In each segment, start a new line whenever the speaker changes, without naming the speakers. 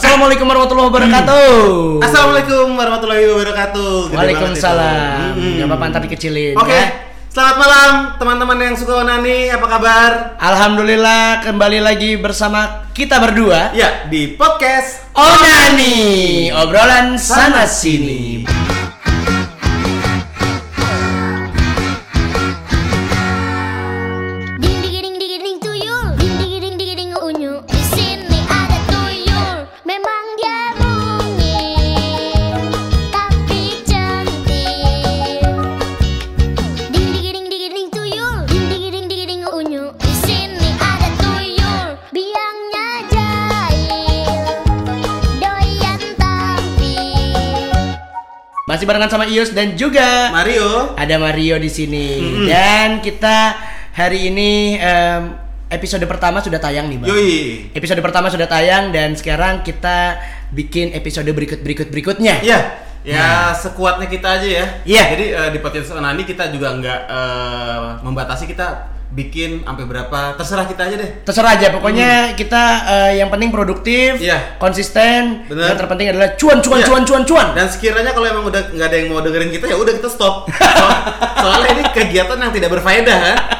Assalamualaikum warahmatullahi wabarakatuh.
Hmm. Assalamualaikum warahmatullahi wabarakatuh. Gede
Waalaikumsalam.
banget itu.
Gak apa-apa
Mm-mm.
ntar dikecilin.
Hmm. Oke,
ya.
selamat malam teman-teman yang suka onani, apa kabar?
Alhamdulillah kembali lagi bersama kita berdua.
Ya, di podcast
Onani, obrolan sana sini.
Ding digiring digiring tuyul, ding digiring digiring unyu. Di sini ada tuyul, memang dia mungil, tapi cantik. Ding digiring digiring tuyul, ding digiring digiring unyu. Di sini ada tuyul, biangnya jahil, doyan tampil.
Masih barengan sama Ius dan juga
Mario.
ada Mario di sini.
Mm-mm.
Dan kita hari ini em, episode pertama sudah tayang nih, Bang.
Yoi.
Episode pertama sudah tayang dan sekarang kita bikin episode berikut-berikut berikutnya.
Ya, ya sekuatnya kita aja ya.
Iya.
Jadi eh, di podcast onani kita juga nggak eh, membatasi kita bikin sampai berapa, terserah kita aja deh.
terserah aja pokoknya kita eh, yang penting produktif
Hmm. Iya.
konsisten
Bener.
yang terpenting adalah cuan cuan
Iya.
cuan cuan cuan
Dan sekiranya kalau emang udah nggak ada yang mau dengerin kita ya udah kita stop. So- soalnya ini kegiatan yang tidak berfaedah. kan? ha?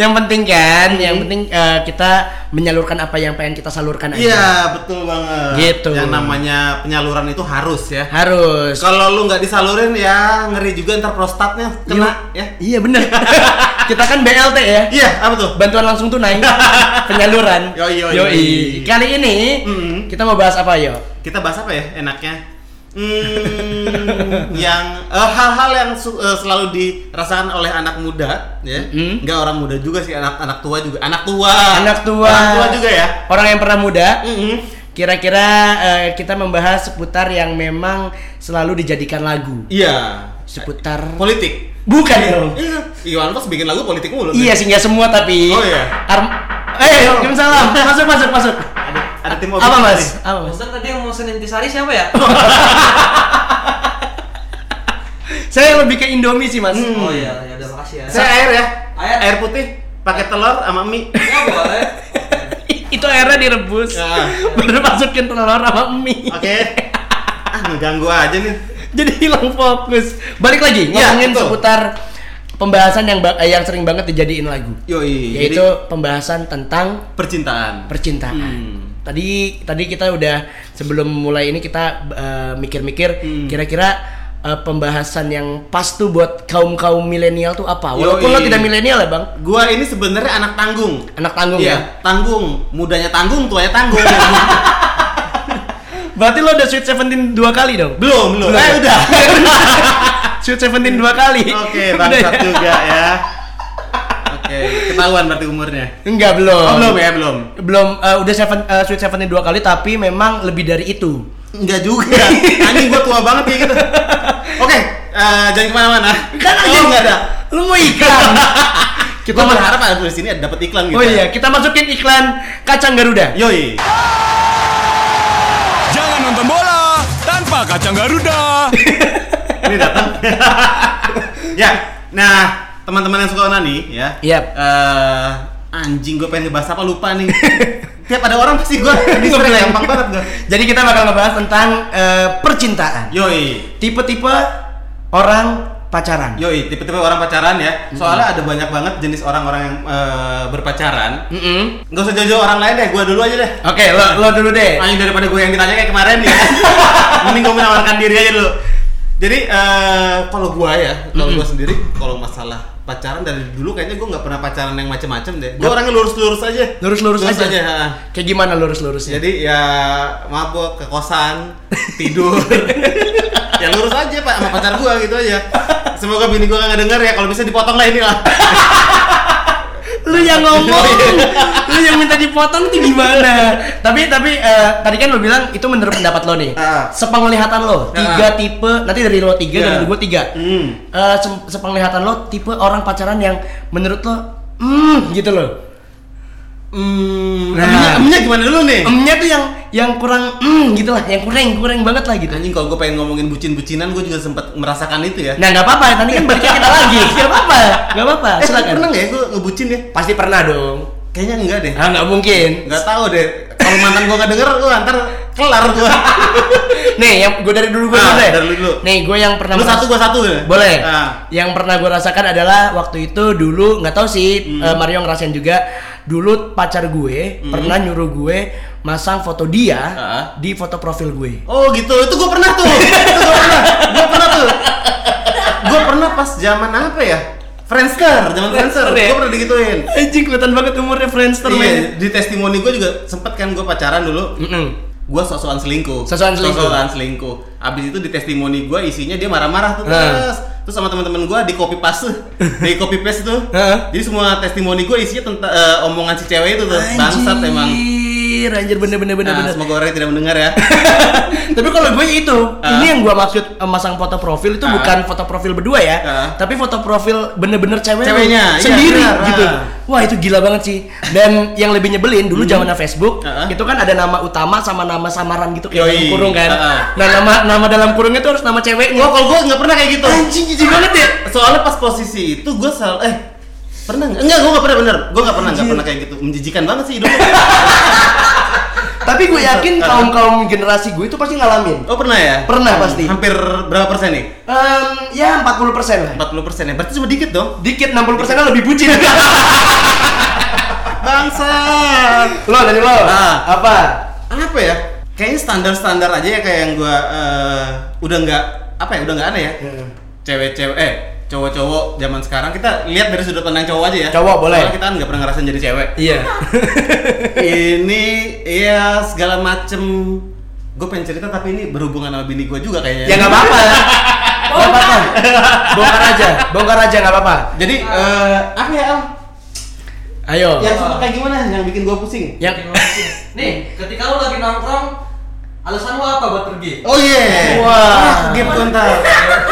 yang penting kan
Hmm.
yang penting eh, kita menyalurkan apa yang pengen kita salurkan aja
Iya, betul banget.
Gitu.
Yang namanya penyaluran itu harus ya.
harus
Kalau lu nggak disalurin ya ngeri juga ntar prostatnya kena ya.
iya bener kita kan BLT ya
Iya, apa tuh?
bantuan langsung tunai penyaluran
Yoi, yoi. Hmm.
kali ini
Mm-mm.
kita mau bahas apa yo
Kita bahas apa ya enaknya? Hmm, yang eh, hal-hal yang su- eh, selalu dirasakan oleh anak muda ya.
Mm.
Nggak orang muda juga sih, anak anak tua juga. Anak tua.
anak tua
Orang tua juga ya. Mm-hmm.
orang yang pernah muda
Mm-mm.
kira-kira eh, kita membahas seputar yang memang selalu dijadikan lagu
Iya.
seputar
Politik.
bukan dong
Iya. Iwan Fals bikin lagu politik mulu.
iya sih nggak semua tapi
Oh, iya.
Arm- eh Waalaikumsalam. masuk masuk masuk
Ada, ada tim
apa
opini
mas
nih.
apa mas
Ustaz tadi yang mau Senin Tisari siapa ya?
saya lebih ke Indomie sih mas
Hmm.
Oh iya, ya udah makasih ya.
Saya air ya.
Air.
Air putih pakai telur sama mie.
Ya boleh.
itu airnya direbus
Ya.
baru masukin telur sama mie
Oke. ah, ngeganggu aja nih.
jadi hilang fokus balik lagi
Iya,
ngomongin
betul.
seputar pembahasan yang ba- eh, yang sering banget dijadiin lagu
Yoi.
yaitu
Iya, Jadi,
pembahasan tentang
percintaan.
percintaan
Hmm.
tadi tadi kita udah sebelum mulai ini kita eh, mikir-mikir
Hmm.
kira-kira eh, pembahasan yang pas tuh buat kaum kaum milenial tuh apa walaupun
Yoi.
lo tidak milenial ya bang
Gua ini sebenarnya anak tanggung.
anak tanggung ya
Iya, tanggung. Mudanya tanggung, tuanya tanggung.
berarti lo udah sweet seventeen dua kali dong
belum, belum. Eh,
ya?
udah.
sweet seventeen dua kali
Oke,
Udah
bangsat
ya?
juga ya. Oke, ketahuan berarti umurnya.
enggak belum
Oh, belum ya, belum.
belum eh, udah seven eh, sweet seventeen dua kali tapi memang lebih dari itu
Enggak juga. Iya. Anjing gua tua banget kayak gitu. Oke, eh, jangan kemana-mana.
Kan
oh, enggak ada.
lu mau iklan
Kita berharap ada di sini ada dapat iklan gitu.
oh iya kita masukin iklan kacang garuda
Yoi.
Jangan nonton bola tanpa kacang Garuda.
ini datang ya nah teman-teman yang suka onani ya
Yap.
eh, anjing gue pengen ngebahas apa lupa nih tiap ada orang pasti gue
Ngeblank.
distract gampang banget gue
Jadi kita bakal ngebahas tentang eh, percintaan.
yoi
Tipe-tipe orang pacaran.
yoi tipe-tipe orang pacaran ya soalnya ada banyak banget jenis orang-orang yang eh, berpacaran
Mm-mm.
nggak usah jauh-jauh orang lain deh gue dulu aja deh
Oke, lo, lo dulu deh.
Anjing daripada gue yang ditanya kayak kemarin ya. Mending gue menawarkan diri aja dulu. Jadi eh, kalau gue ya, kalau gue sendiri, kalau masalah pacaran dari dulu kayaknya gue nggak pernah pacaran yang macem-macem deh. Gue orangnya lurus-lurus aja. Ya.
Lurus-lurus aja.
ha.
Kayak gimana lurus-lurusnya?
Jadi ya mabok ke kosan, tidur. ya lurus aja pak sama pacar gue gitu aja. Semoga bini gue nggak denger ya. Kalau bisa dipotong lah ini lah.
Lu yang ngomong, Iya. lu yang minta dipotong tuh gimana? tapi tapi eh, tadi kan lo bilang itu menurut pendapat lo nih.
Ah.
Sepenglihatan lo tiga tipe. Nanti dari lo tiga
Iya.
dari gue tiga.
Hmm.
Eh, se- sepenglihatan lo tipe orang pacaran yang menurut lo, hmm gitu loh.
Hmm,
Nah.
emnya- emnya gimana dulu nih?
Emnya tuh yang yang kurang hmm gitu lah, yang kurang kurang banget lah gitu.
Anjing kalau gue pengen ngomongin bucin-bucinan gue juga sempat merasakan itu ya.
Nah nggak apa-apa, nanti kan baliknya kita lagi. Nggak apa-apa, nggak apa-apa.
Eh,
Silakan.
pernah nggak ya gue ngebucin ya?
Pasti pernah dong.
Kayaknya enggak deh.
Ah nggak mungkin.
Enggak tahu deh. Kalau kalau mantan gua nggak denger gua ntar kelar gua
Nih, yang gue dari dulu gue
Ah,
dulu deh.
dari lu dulu.
Nih, gue yang pernah
lu
meras-
satu gua satu ya
Boleh.
Ah.
Yang pernah gue rasakan adalah waktu itu dulu nggak tahu sih
Hmm.
eh, Mario ngerasain juga. Dulu pacar gue pernah nyuruh gue masang foto dia
Ah.
di foto profil gue.
Oh gitu, itu gue pernah tuh. Itu gue pernah. Gue pernah tuh. Gue pernah pas zaman apa ya? Friendster, zaman Friendster.
Friendster ya?
Gue pernah digituin.
Anjing kelihatan banget umurnya Friendster
Iya, di testimoni gue juga sempet kan gue pacaran dulu.
Mm-mm.
Gue sosokan selingkuh.
Sosokan selingkuh.
Sosokan selingkuh. Abis itu di testimoni gue isinya dia marah-marah tuh
Nah.
terus. Terus sama teman-teman gue di copy paste, di copy paste tuh.
Nah.
Jadi semua testimoni gue isinya tentang eh, omongan si cewek itu tuh. Bangsat emang.
Anjir, anjir bener bener bener
Nah,
bener.
semoga orangnya tidak mendengar ya.
Tapi kalau gue ya itu,
Ah.
ini yang gue maksud eh, masang foto profil itu
Ah.
bukan foto profil berdua ya,
Ah.
tapi foto profil bener-bener cewek lu
Ceweknya, iya,
sendiri
benar,
gitu.
ah.
Wah itu gila banget sih. Dan yang lebih nyebelin dulu zamannya Facebook,
Ah, ah.
itu kan ada nama utama sama nama samaran gitu kayak
Yoi.
dalam kurung kan.
Ah, ah.
Nah nama nama dalam kurungnya tuh harus nama ceweknya.
Gue kalau gue nggak pernah kayak gitu.
Anjing jijik banget ya.
soalnya pas posisi itu gue sal eh pernah nggak enggak gue nggak pernah bener gue nggak pernah nggak
Anjir.
pernah kayak gitu menjijikan banget sih hidup gua.
Tapi gue yakin
Ah.
kaum kaum generasi gue itu pasti ngalamin.
oh pernah ya
Pernah pasti.
hampir berapa persen nih
Em, ya 40 persen lah.
40 persen ya berarti cuma dikit dong
Dikit 60 persen lebih bucin.
bangsa
lo dari lo
Ah.
apa?
apa ya kayaknya standar standar aja ya kayak yang gue udah nggak apa ya udah nggak aneh ya
Iya.
cewek-cewek eh cowok-cowok zaman sekarang kita lihat dari sudut pandang cowok aja ya
Cowok, boleh.
Soalnya kita kan nggak pernah ngerasain jadi cewek
Iya.
Iya. ini ya segala macem gue pengen cerita tapi ini berhubungan sama bini gue juga kayaknya
ya nggak apa-apa. Nggak apa-apa. Bongkar aja, bongkar aja nggak apa-apa.
jadi eh, apa ya Al?
Ayo.
yang suka kayak gimana yang bikin gue pusing
Yang
Nih, ketika lu lagi nongkrong, alasan lu apa buat pergi?
oh iya
Wah.
Ah, game gue ntar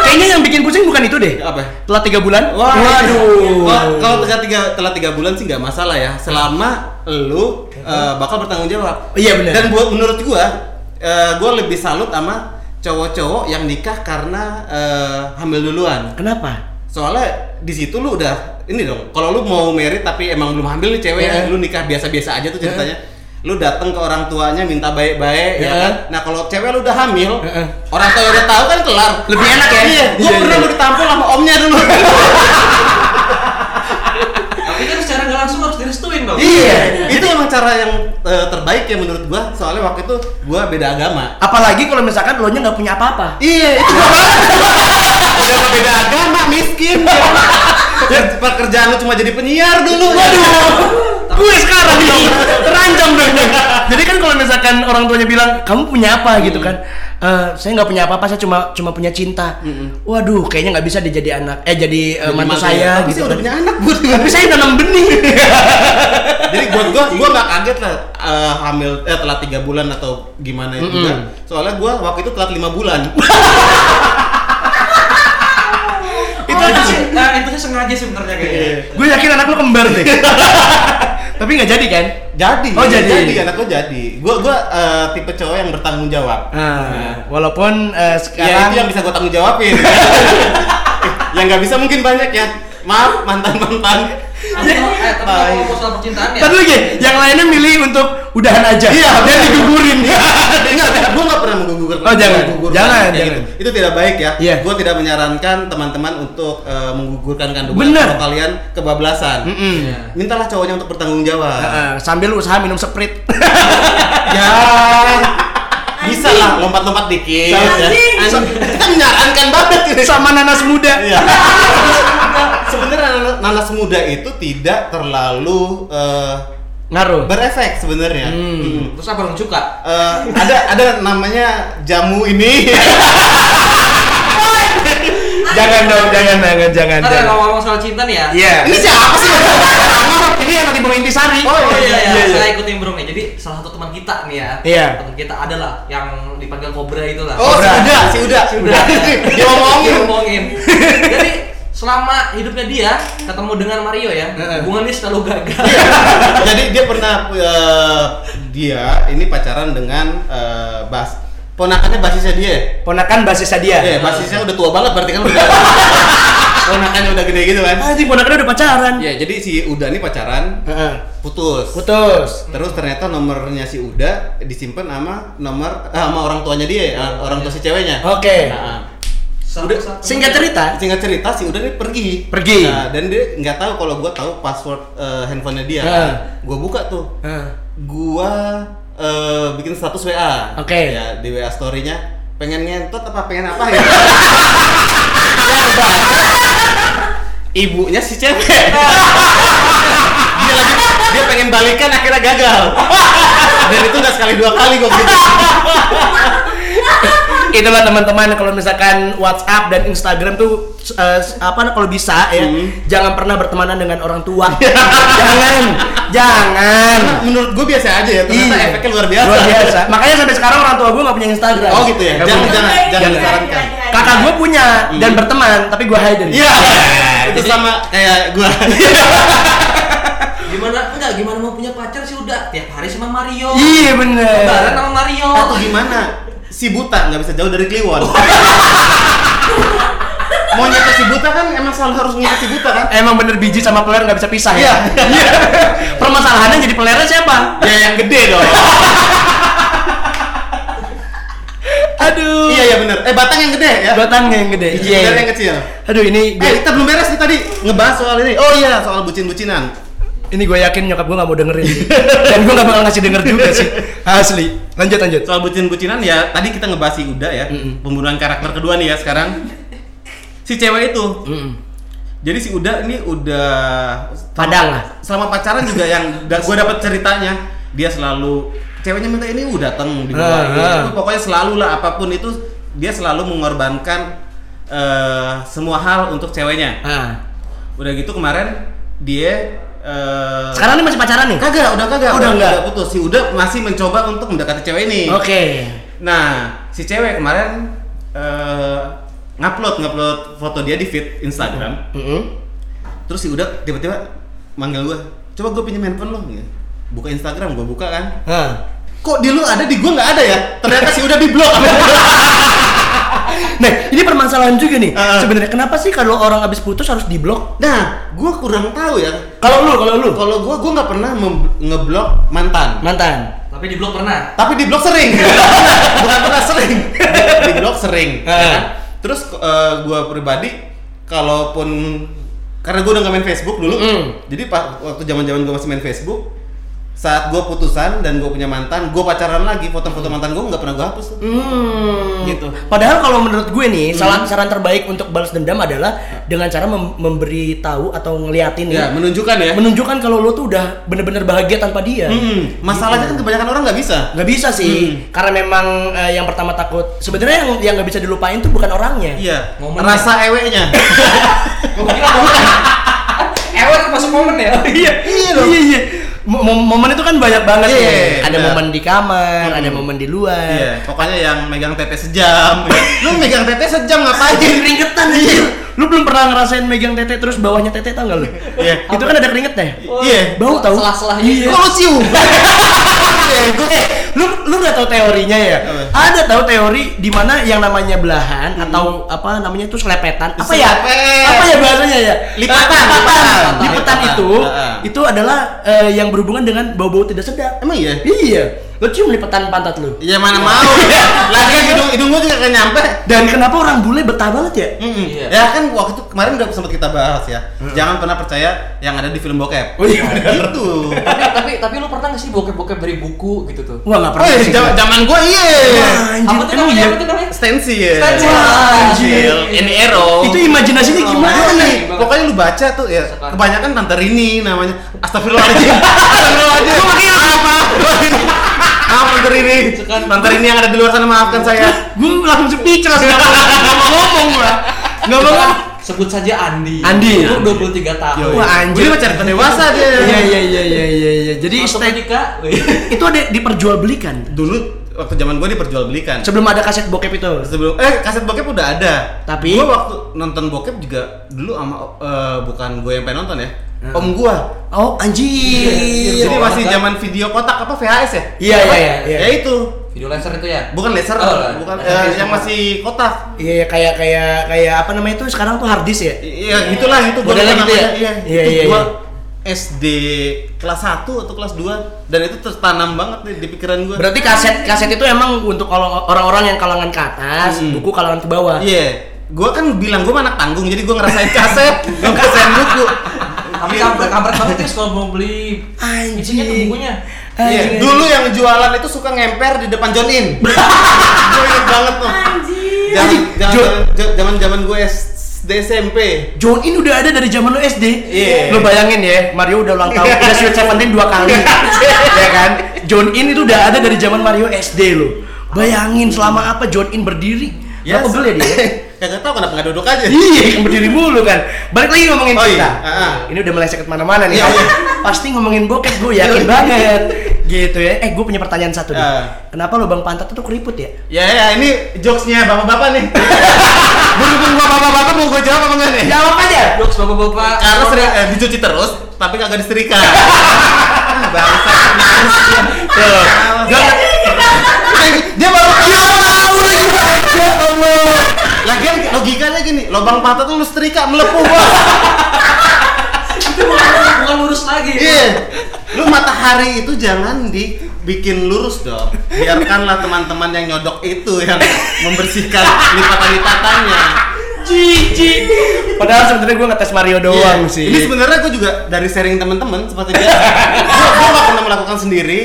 kayaknya yang bikin pusing bukan itu deh.
apa
Telah tiga bulan.
Wah,
Waduh.
Wah, kalau tiga tiga telah tiga bulan sih nggak masalah ya, selama lu eh, bakal bertanggung jawab.
Iya, benar.
Dan buat menurut gua, eh, gua lebih salut sama cowok-cowok yang nikah karena eh, hamil duluan.
Kenapa?
soalnya di situ lu udah ini dong kalau lu mau merit tapi emang belum hamil nih cewek
Yeah.
ya lu nikah biasa-biasa aja tuh
Iya.
ceritanya lu datang ke orang tuanya minta baik-baik ya
Yeah.
kan nah kalau cewek lu udah hamil
Yeah.
orang tua udah tahu kan kelar
Iya. Lebih enak ya?
iya gua
Iya,
pernah
iya.
mau ditampol sama omnya dulu
Tapi kan secara nggak langsung harus direstuin dong.
iya itu emang cara yang eh, terbaik ya menurut gua soalnya waktu itu gua beda agama
Apalagi kalau misalkan lo nya nggak punya apa-apa.
iya itu gua banget udah beda agama miskin ya. pekerjaan lu cuma jadi penyiar dulu
Iya.
waduh
Gue sekarang nih terancam dong. Jadi kan kalau misalkan orang tuanya bilang kamu punya apa gitu kan, Eh, saya nggak punya apa-apa, saya cuma cuma punya cinta. Waduh, kayaknya nggak bisa dijadi anak, eh jadi eh, mantu saya
tapi
gitu.
sih ya? udah
kan.
punya anak gua
Tapi saya nanam benih.
jadi buat gua gua nggak kaget lah eh, hamil eh telat tiga bulan atau gimana itu
Mm-mm.
juga soalnya gua waktu itu telat lima bulan
Itu aja sih, nah, itu sih sengaja sih sebenarnya gitu. kayaknya.
Gue yakin anak lu kembar deh. Tapi nggak jadi kan?
jadi Iya,
Oh, jadi.
jadi anak gua jadi gua gua eh, tipe cowok yang bertanggung jawab
Nah, walaupun eh,
ya
sekarang
itu yang bisa gua tanggung jawabin yang nggak bisa mungkin banyak ya maaf mantan mantan
Tapi kalau- eh, tapi kalau ngomong soal percintaan ya.
Tadi lagi, yang lainnya milih untuk udahan aja.
Iya,
dan
bener.
digugurin.
Enggak, gua nggak pernah menggugur
Oh, jangan.
menggugurkan
Jangan,
kayak
jangan.
gitu. Itu tidak baik ya.
Iya.
Gua tidak menyarankan teman-teman untuk eh, menggugurkan kandungan
Bener.
kalau kalian kebablasan.
Mm-mm.
Iya.
mintalah cowoknya untuk bertanggung jawab
Heeh, Eh, sambil usaha minum seprit.
ya bisa lah lompat-lompat dikit
Anjing.
ya. Anjing. kita menyarankan banget ini
sama nanas muda.
Iya. sebenarnya nanas- nanas muda itu tidak terlalu eh,
Ngaruh.
berefek sebenarnya
Hmm.
Mm.
Terus apa dong cuka?
Eh, ada ada namanya jamu ini
jangan dong, jangan jangan jangan.
Ntar ya, kalau ngomong soal cinta nih ya.
Iya.
ini siapa sih
Ini yang nanti Bung Intisari.
Oh,
Oh iya, iya,
iya.
saya ikutin bro nih. Jadi salah satu teman kita nih ya.
Iya.
Teman kita adalah yang dipanggil Cobra itulah.
oh si
Udah.
uda si uda
Si Uda.
dia ngomongin
Diomongin. Jadi selama hidupnya dia ketemu dengan Mario ya, hubungan dia selalu gagal.
Iya. Jadi dia pernah eh, dia ini pacaran dengan eh, Bas. Ponakannya basisnya dia. Iya,
Ponakan basisnya dia.
Ya, basisnya udah tua banget berarti kan udah. ponakannya udah gede gitu kan
Anjing Ah, ponakannya udah pacaran.
ya jadi si Uda nih pacaran
Heeh.
putus
Putus.
terus ternyata nomornya si Uda disimpan sama nomor ah, sama orang tuanya dia ya orang tua si ceweknya
Iya. Oke.
Nah, Kan
Udah
Singkat cerita,
singkat cerita si Uda nih pergi
Pergi.
Nah, dan dia nggak tahu kalau gua tahu password eh, handphonenya dia
Ah.
gua buka tuh
Heeh.
gua eh, bikin status WA
Oke.
ya di WA story-nya pengen ngentot apa pengen apa ya ibunya si cewek dia lagi dia pengen balikan akhirnya gagal dan itu udah sekali dua kali gua gitu
itulah teman-teman kalau misalkan WhatsApp dan Instagram tuh eh, apa kalau bisa ya
Hmm.
jangan pernah bertemanan dengan orang tua jangan jangan
menurut gua biasa aja ya ternyata
Iya.
efeknya luar biasa
luar biasa makanya sampai sekarang orang tua gue nggak punya Instagram
oh gitu ya
Nggak
jangan
punya.
jangan jangan disarankan
kakak gue punya dan berteman tapi gue hide
Iya, itu
jadi-
sama kayak gua.
Gimana enggak gimana mau punya pacar sih udah tiap hari sama Mario.
iya bener
Lebaran sama Mario.
Atau gimana? Si buta nggak bisa jauh dari Kliwon. Mau nyata si buta kan emang selalu harus ngikut si buta kan?
emang bener biji sama peler nggak bisa pisah
Iya.
ya Iya. permasalahannya jadi pelernya siapa
Ya yang gede dong.
aduh
iya ya bener. Eh batang yang gede ya.
batangnya yang gede
Biji
Iya.
bener yang kecil.
aduh ini
Eh kita belum beres nih tadi ngebahas soal ini. Oh iya soal bucin-bucinan.
Ini gue yakin nyokap gue gak mau dengerin Dan gue gak bakal ngasih denger juga sih Asli Lanjut lanjut
Soal bucin-bucinan ya tadi kita ngebahas si Uda ya. Pembunuhan karakter kedua nih ya sekarang. Si cewek itu. Jadi si Uda ini udah
Padang lah
selama pacaran juga yang da gue dapat ceritanya dia selalu ceweknya minta ini udah datang di
Ah, ah.
"Iya, pokoknya selalu lah apapun itu dia selalu mengorbankan eh, semua hal untuk ceweknya
ah.
udah gitu kemarin dia eh,
Sekarang ini masih pacaran nih?
kagak udah kagak
Oh, udah enggak?
putus si udah masih mencoba untuk mendekati cewek ini
Oke
nah si cewek kemarin eh, ngupload ngupload foto dia di feed Instagram
Mm-mm.
terus si udah tiba-tiba manggil gue coba gue pinjam handphone lo gitu. buka Instagram gue buka kan
Ah.
kok di lu ada di gue nggak ada ya ternyata si udah di blok
Nah ini permasalahan juga nih
Ah.
Sebenarnya kenapa sih kalau orang abis putus harus diblok?
nah gue kurang tahu ya
Kalau lu, kalau lu
kalau gue gue nggak pernah mem- ngeblok mantan
Mantan
Tapi di blok pernah.
tapi di blok sering bukan
Ah,
pernah sering di blok sering ya
Eh.
kan? terus gue pribadi kalaupun karena gue udah gak main Facebook dulu
Mm.
jadi pa- waktu zaman zaman gue masih main Facebook saat gue putusan dan gue punya mantan gue pacaran lagi foto-foto mantan gue nggak pernah gue hapus tuh.
Hmm.
Gitu.
Padahal kalau menurut gue nih, saran saran terbaik untuk balas dendam adalah dengan cara mem- memberi tahu atau ngeliatin Ah. ya,
ya menunjukkan ya
menunjukkan kalau lu tuh udah bener-bener bahagia tanpa dia.
Mm, masalahnya kan kebanyakan orang nggak bisa
nggak bisa sih karena memang eh, yang pertama takut sebenarnya yang yang nggak bisa dilupain tuh bukan orangnya
iya
Momennya.
rasa eweknya
Gua kira momen. Ewan masuk momen ya.
iya iya iya Mo- mo- momen itu kan banyak banget Hmm.
Iya,
nih. ada
benar.
momen di kamar
Mm.
ada momen di luar
iya pokoknya yang megang tete sejam ya. lu megang tete sejam
Anjing,
ngapain
keringetan anjir. lu belum pernah ngerasain megang tete terus bawahnya tete tau nggak lu
Iya.
itu kan ada keringetnya
iya
bau tau
Selah-selah
Iya.
gitu.
kolosium Iya,
Eh, lu lu nggak tahu teorinya ya
Apa? Hmm.
ada tahu teori di mana yang namanya belahan atau apa namanya itu selepetan apa ya
Selepet. Ah,
apa ya bahasanya ya
Lipatan,
Eh, lipatan
lipatan. Ah,
lipatan
Lipatan.
itu
Heeh.
itu adalah eh, yang berhubungan dengan bau-bau tidak sedap
Emang iya?
iya lu cium lipatan pantat lu
Ya mana mau.
Iya.
Lagi kan hidung hidung gua juga gak nyampe.
dan kenapa orang bule betah banget ya
Mm-mm.
Iya.
Ya kan waktu itu kemarin udah sempat kita bahas ya. Jangan pernah percaya yang ada di film
Oh,
bokep.
iya,
gitu.
tapi tapi tapi lu pernah nggak sih bokep-bokep dari buku gitu tuh?
wah nggak pernah
Eh,
sih
zaman zaman gua iya.
Wah, anjir,
Apa tuh
emang
namanya?
iya?
Apa tuh namanya?
Stensi ya.
Stensil.
Anjir.
Ini arrow.
itu imajinasinya
Oh.
gimana
Gimana
nih
nih? Pokoknya lu baca tuh ya.
Sekarang.
Kebanyakan tante Rini namanya. Astagfirullahaladzim. Astagfirullahaladzim. Gua makin apa? Maaf tante Rini.
Sekarang.
Tante Rini yang ada di luar sana maafkan saya.
gue langsung speechless nggak mau nggak mau ngomong gua nggak mau ngomong
Sebut saja Andi.
Andi.
Umur 23 tahun.
Wah, anjir.
Udah pacaran dewasa dia.
iya iya iya iya iya iya jadi
Masuk
estetik
nikah.
itu ada diperjualbelikan
dulu waktu zaman gue diperjualbelikan
sebelum ada kaset bokep itu
sebelum eh kaset bokep udah ada
Tapi-
gue waktu nonton bokep juga dulu sama eh, bukan gue yang pengen nonton ya om gue
oh anjir
jadi
Iya,
masih
kan?
zaman video kotak apa VHS ya
Iya, iya, iya, iya.
ya itu
Video laser itu ya?
Bukan laser,
Oh, lah.
bukan
Laser
eh,
disc
yang
bukan.
masih kotak.
Iya kayak kayak kayak apa namanya itu sekarang tuh hard disk ya?
I- Iya, gitulah itu gua
Modelnya
lupa
gitu ya?
namanya. Iya,
Iya,
itu
iya,
gua
iya.
SD kelas 1 atau kelas 2 dan itu tertanam banget nih di pikiran gua.
Berarti kaset kaset itu emang untuk kalau orang-orang yang kalangan ke atas,
Mm.
buku kalangan ke bawah.
Iya. Gua kan bilang gua mah anak tanggung jadi gua ngerasain kaset, Iya. gua ngerasain buku.
Tapi kampret kampret banget guys kalau mau beli isinya tuh bukunya.
Anjing.
Iya, dulu yang jualan itu suka ngemper di depan John In. Gua inget banget tuh.
Anjing. Jo-
Zaman zaman zaman gue SD SMP.
John In udah ada dari zaman lo SD.
Iya.
Lo bayangin ya, Mario udah ulang tahun, udah Sweet Seventeen dua kali. ya kan? John In itu udah ada dari zaman Mario SD lo. Bayangin selama apa John In berdiri. Ya,
Yes.
pegel ya dia?
Kagak tahu kenapa nggak duduk aja.
Iya, yang berdiri mulu kan. Balik lagi ngomongin
Oh
kita.
iya, ah.
Ini udah meleset kemana-mana nih.
Iya, iya.
Pasti ngomongin bokep, gue yakin banget. Gitu ya. Eh, gue punya pertanyaan satu nih.
Ah.
Kenapa lubang pantat itu keriput ya?
Ya ya ini jokesnya bapak-bapak nih. Berhubung gua bapak-bapak mau gua jawab apa enggak nih?
Jawab aja.
Jokes bapak-bapak.
Karena sering eh, dicuci terus, tapi kagak disetrika. Ah, Bangsa.
Tuh.
Jangan- Dia baru
Iya,
Ya
Tahu lagi baca, Allah.
Lagian logikanya gini, lubang patah tuh lu setrika melepuh gua.
itu bukan bukan lurus lagi.
Iya. Lu matahari itu jangan dibikin lurus dong. Biarkanlah teman-teman yang nyodok itu yang membersihkan lipatan-lipatannya.
Cici. Padahal sebenarnya gue ngetes Mario doang
Iya.
sih.
Ini sebenarnya gue juga dari sharing teman-teman seperti biasa. gue gak pernah melakukan sendiri.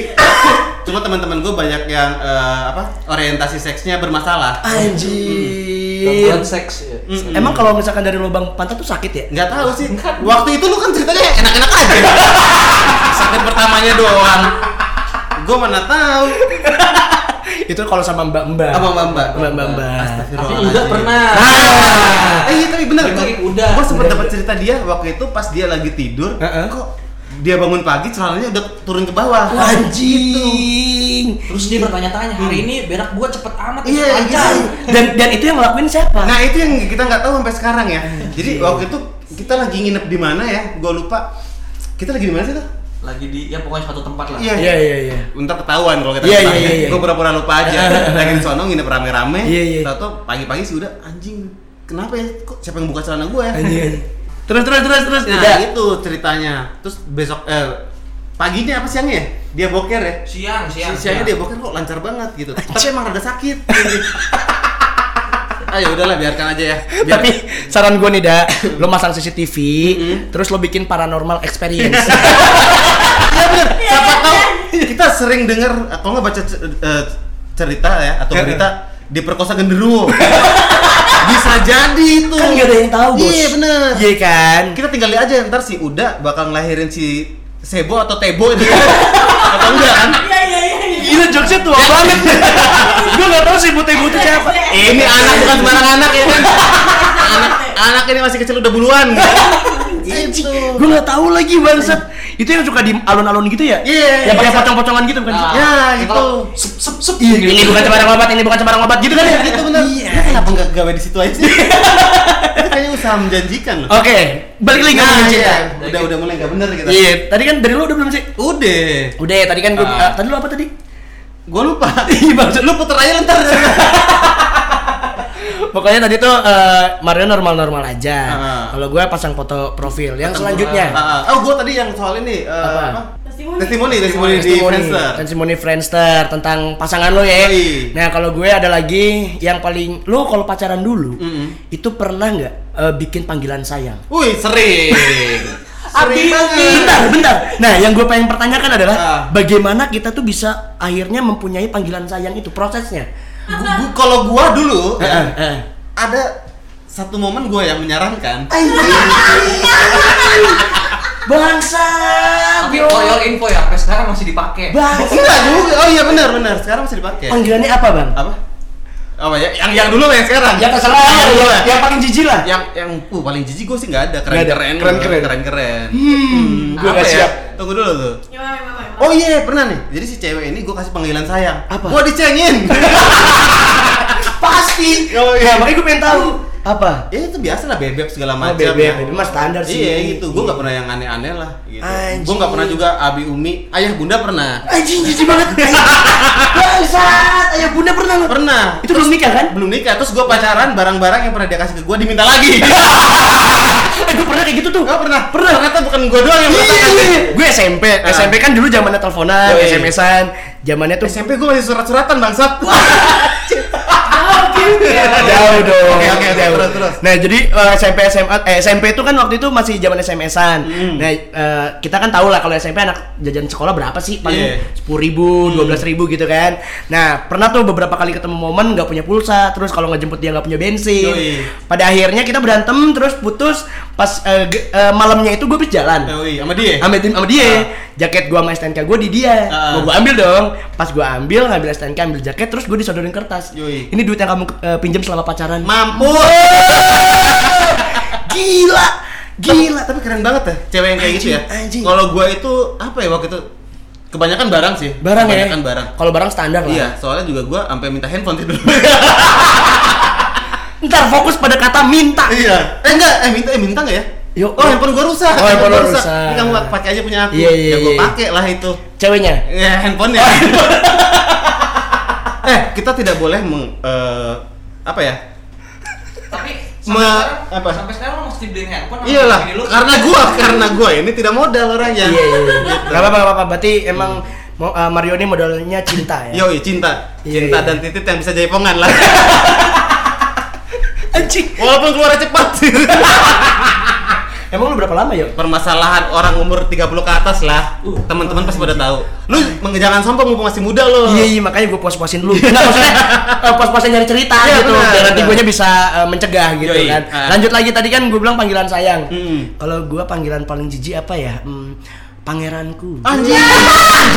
Cuma teman-teman gue banyak yang eh, apa orientasi seksnya bermasalah.
anjir.
Gangguan seks. ya.
Iya. Mm-mm.
Hmm. Emang kalau misalkan dari lubang pantat tuh sakit ya?
nggak tahu sih.
Enggak.
Waktu itu lu kan ceritanya enak-enak aja. Sakit pertamanya doang. Gue mana tahu.
Itu kalau sama mbak-mbak.
Apa mbak mbak?
Mbak-mbak.
Tapi udah pernah.
Ah.
Iya. Eh iya tapi bener
Tapi
gua-
lagi udah.
Gua sempet
Udah,
dapat cerita dia waktu itu pas dia lagi tidur.
Heeh.
Kok dia bangun pagi celananya udah turun ke bawah.
Anjing.
Terus dia bertanya-tanya hari ini berak gua cepet amat ya,
Mm. Iya,
cepet lancar.
gitu.
Dan dan itu yang ngelakuin siapa?
Nah itu yang kita nggak tahu sampai sekarang ya. Jadi waktu itu kita lagi nginep di mana ya? Gua lupa. Kita lagi di mana sih tuh?
Lagi di ya pokoknya satu tempat lah.
Iya.
Iya iya iya.
Ntar ketahuan kalau kita
Iya,
lupa.
iya, iya, iya.
Gua pura-pura lupa aja. lagi di sono nginep rame-rame.
Iya, iya.
Tahu pagi-pagi sih udah anjing. Kenapa ya? Kok siapa yang buka celana gua ya?
Anjing. Terus terus terus terus.
Nah,
Udah.
itu ceritanya. Terus besok eh paginya apa siangnya ya? Dia boker ya?
Siang,
siang,
siang. Nah,
siangnya dia boker kok lancar banget gitu tapi emang rada sakit ayo udahlah biarkan aja Ah, ya Biar-
Tapi saran gue nih, Da, lo masang CCTV, terus lo bikin paranormal experience.
Iya bener siapa tahu kita sering dengar eh, kalau nggak baca ce- eh, cerita ya atau berita diperkosa genderuwo bisa jadi itu
kan gak ada yang tahu, Bos.
iya bener
Iya kan?
kita tinggal lihat aja ntar si Uda bakal ngelahirin si Sebo atau Tebo ini atau enggak kan
Gila jokesnya tua banget. gue gak tahu sih butai-butai siapa. Iya.
ini anak bukan sembarang anak ya kan anak, anak ini masih kecil udah buluan gitu. Itu.
Gue gak tahu lagi bangsat. Itu yang suka di alun-alun gitu ya?
Iya.
Yang pakai pocong-pocongan gitu bukan? sih?
Nah,
Ya,
yang
gitu.
kalau Sep sep sep.
Iya, ini bukan sembarang obat, ini bukan sembarang obat gitu kan ya?
itu benar. Iya. Kenapa nggak gawe di situ aja? itu kayaknya usaha menjanjikan loh.
Oke, balik lagi ke
Nah,
cinta.
iya. Udah udah mulai nggak bener kita.
Iya, tadi kan dari lo udah belum sih?
Udah.
Udah, tadi kan gue,
Ah.
tadi lo apa tadi?
Gue lupa.
Iya, maksud
Lu puter aja ntar.
Pokoknya tadi tuh eh, Mario normal-normal aja.
Ah.
Kalau gue pasang foto profil. Yang selanjutnya.
Ah, ah. oh, gue tadi yang soal ini eh,
Apa?
apa?
Testimoni.
Testimoni, testimoni di
Testimoni
Friendster.
Testimoni Friendster tentang pasangan lo ya.
Yoi.
Nah, kalau gue ada lagi yang paling lo kalau pacaran dulu
Mm-mm.
itu pernah nggak eh, bikin panggilan sayang?
Wih, sering. sering banget.
Bentar, bentar. Nah, yang gue pengen pertanyakan adalah
Ah.
bagaimana kita tuh bisa akhirnya mempunyai panggilan sayang itu prosesnya? Eh,
Gua- gua- Kalau gua dulu ya,
Heeh, heeh.
ada satu momen gue yang menyarankan.
Bangsa,
Tapi koyor info ya, sampai sekarang masih dipakai.
bangsa.
Enggak juga. Oh iya benar benar. Sekarang masih dipakai.
Panggilannya apa bang?
Apa? Apa ya? Yang yang dulu lah yang sekarang.
Yang terserah, yang,
dulu lah.
yang paling jijik lah. Iya.
yang yang uh paling jijik gue sih nggak ada keren
Nggak ada.
keren
Keren-keren.
keren keren
Hmm, gue
Apa
gak
ya?
siap.
tunggu dulu tuh
Gimana, gimana, gimana?
oh iya pernah nih jadi si cewek ini gue kasih panggilan sayang
Apa?
gue dicengin
Pasti.
Oh,
Nah,
iya.
makanya gue pengen tahu. Apa?
Ya itu biasa lah bebek segala
Oh,
macam.
bebek,
ya.
bebek mah standar sih.
Iya gitu, gue nggak pernah yang aneh-aneh lah. Gitu.
Anjing.
Gue nggak pernah juga abi umi, ayah bunda pernah.
Anjing jijik banget. Bangsat, ayah bunda pernah lu.
Pernah.
Itu belum nikah kan?
Belum nikah, terus gue pacaran barang-barang yang pernah dia kasih ke gue diminta lagi.
Eh, gue pernah kayak gitu tuh.
Gak pernah.
Pernah.
Ternyata bukan gue doang yang merasakan.
Iya. Gue SMP,
Ah.
SMP kan dulu zamannya teleponan,
Yoi.
SMS-an, zamannya tuh
SMP gue masih surat-suratan bangsat.
jauh dong.
Oke, oke, oke,
jauh.
terus, terus.
Nah, jadi eh, SMP SMA eh, SMP itu kan waktu itu masih zaman SMS-an.
Hmm.
Nah, eh, kita kan tahu lah kalau SMP anak jajan sekolah berapa sih?
Iya. Hmm.
Paling sepuluh ribu, dua ribu gitu kan. Nah, pernah tuh beberapa kali ketemu momen nggak punya pulsa, terus kalau nggak jemput dia nggak punya bensin.
Yoi.
Pada akhirnya kita berantem, terus putus. Pas eh, ge- eh, malamnya itu gue habis jalan.
Eh, wih, sama dia.
Ambil tim sama dia. Jaket gua sama STNK gua di dia.
Ah.
Mau gua ambil dong. Pas gua ambil ngambil STNK ambil jaket terus gua disodorin kertas.
Yoi.
Ini duit yang kamu eh, pinjam selama pacaran.
Mampus.
gila. Gila.
Tapi keren banget ya cewek yang kayak gitu ya.
Anjing, anjing.
Kalau gue itu apa ya waktu itu kebanyakan barang sih.
Barang ya.
Kebanyakan barang.
Kalau barang standar lah.
Iya, soalnya juga gue sampai minta handphone tidur.
Ntar fokus pada kata minta.
iya. Eh enggak, eh minta eh minta enggak ya?
Yuk.
oh handphone gue rusak.
Oh, handphone
gua
lu rusak.
Ini kamu pakai aja punya aku.
Iya, iya,
ya gue
iya.
pakai lah itu.
Ceweknya.
Ya handphonenya.
Oh,
eh kita tidak boleh meng eh, apa ya?
Tapi
Ma-
sampai sekarang,
apa?
sampai sekarang lo mesti beliin handphone sama
Iyalah,
bini lu.
Iya karena gue karena gue ini tidak modal orangnya.
Iya iya. iya. Gak apa-apa gak apa-apa. Berarti emang
Hmm.
mau eh, Mario ini modalnya cinta ya.
Yoi, cinta.
Iya,
Cinta
iya.
dan titit yang bisa jaipongan lah.
Anjing.
Walaupun keluar cepat.
Emang lu berapa lama ya?
Permasalahan orang umur 30 ke atas lah.
Uh.
Teman-teman pasti pada tahu. Lu meng- jangan sombong mumpung masih muda lo.
Iya iya makanya gue pos-posin dulu. Enggak maksudnya eh, pos-posin nyari cerita
Iya,
gitu.
benar,
Biar nanti
benar.
gue bisa eh, mencegah gitu
Yoi,
kan.
ah.
Lanjut lagi tadi kan gue bilang panggilan sayang.
Mm.
Kalau gue panggilan paling jijik apa ya? Hmm, pangeranku.
Anjing.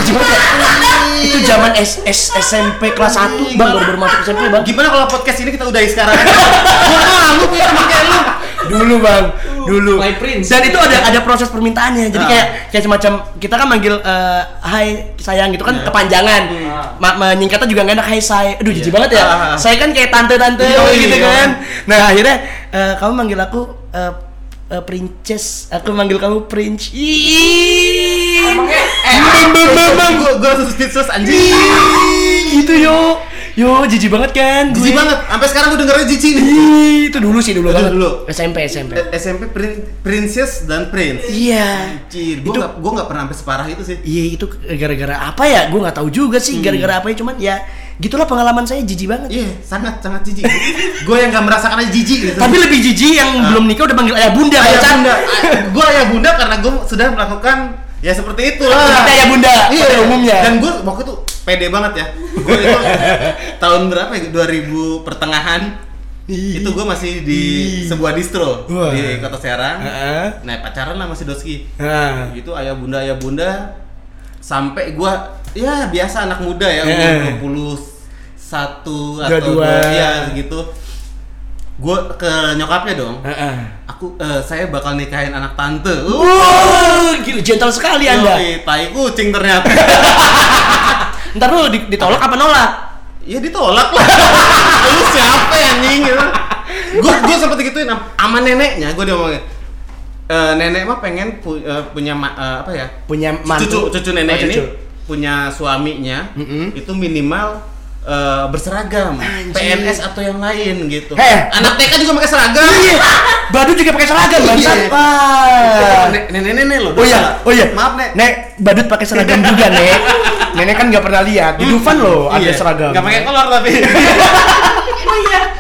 Jijik banget ya? Itu zaman S- S- SMP kelas 1 bang baru baru masuk SMP iya, bang.
Gimana kalau podcast ini kita udahi sekarang? aja? Gua malu punya teman kayak lu.
Dulu bang, dulu.
My prince.
Dan itu ada ada proses permintaannya. Jadi
Ah.
kayak kayak semacam kita kan manggil eh, Hai sayang gitu
Iya.
kan kepanjangan. Ma menyingkatnya juga nggak enak Hai say. Aduh jijik banget ya.
Ah, Hmm. ah, Iya, ah.
Saya kan kayak tante-tante
Yoi,
gitu
yoi.
kan. Nah akhirnya eh, kamu manggil aku eh, eh, princess. Aku manggil kamu prince. Ih.
Emangnya eh
Bang, bang, bang, bang.
Gua gua langsung speechless anjing.
Ih, Gitu yo. Yo jijik banget kan.
eh, Jijik
gue.
banget. Sampai sekarang gua dengernya jijik nih.
Ih, Itu dulu sih dulu
Itu
banget.
dulu.
SMP SMP.
Eh, SMP prin- Princess dan Prince.
Iya.
Anjir, gua
Itu-
nggak gua nggak pernah sampai separah itu sih.
Iya itu gara-gara apa ya? Gue nggak tahu juga sih gara-gara apa ya. Cuman ya gitulah pengalaman saya jijik banget.
Hmm. Iya, sangat sangat jijik. gua yang nggak merasakan aja jijik gitu.
Tapi lebih jijik yang belum nikah udah panggil ayah bunda.
ayah
bangsat.
bunda gue ayah bunda karena gue sudah melakukan ya seperti itulah
Seperti ayah bunda,
iya
pada umumnya.
dan gue waktu itu pede banget ya gue itu tahun berapa ya 2000 pertengahan itu gue masih di sebuah distro
Wah.
di kota Serang
Heeh.
nah pacaran lah masih doski
Nah.
gitu ayah bunda ayah bunda sampai gue ya biasa anak muda ya
Heeh.
umur
Eh.
21
Dua
atau
dua.
22 ya gitu gue ke nyokapnya dong
Heeh.
aku eh, saya bakal nikahin anak tante. Uh,
Wow, gila gentle sekali Anda.
yoi, tai kucing ternyata.
Ntar lu di- ditolak apa nolak?
ya ditolak lah. Lu siapa ya anjing gitu. Gue gue sempet gituin am- sama neneknya, gue diomongin. Eh, nenek mah pengen pu- eh, punya ma- eh, apa ya?
Punya
Cucu
mantu.
cucu nenek
Oh, cucu.
ini punya suaminya
Mm-mm.
itu minimal eh, berseragam PNS atau yang lain gitu.
Heh.
Anak TK juga pakai seragam.
Iya. Badu juga pakai seragam bangsat.
Iya.
Wah.
Nenek-nenek loh.
Oh iya, oh iya.
Maaf, Nek.
Nek, badut pakai seragam juga, Nek. Nenek kan nggak pernah lihat. Di Dufan loh ada
Iya,
seragam. Oh iya.
Nggak pakai kolor tapi.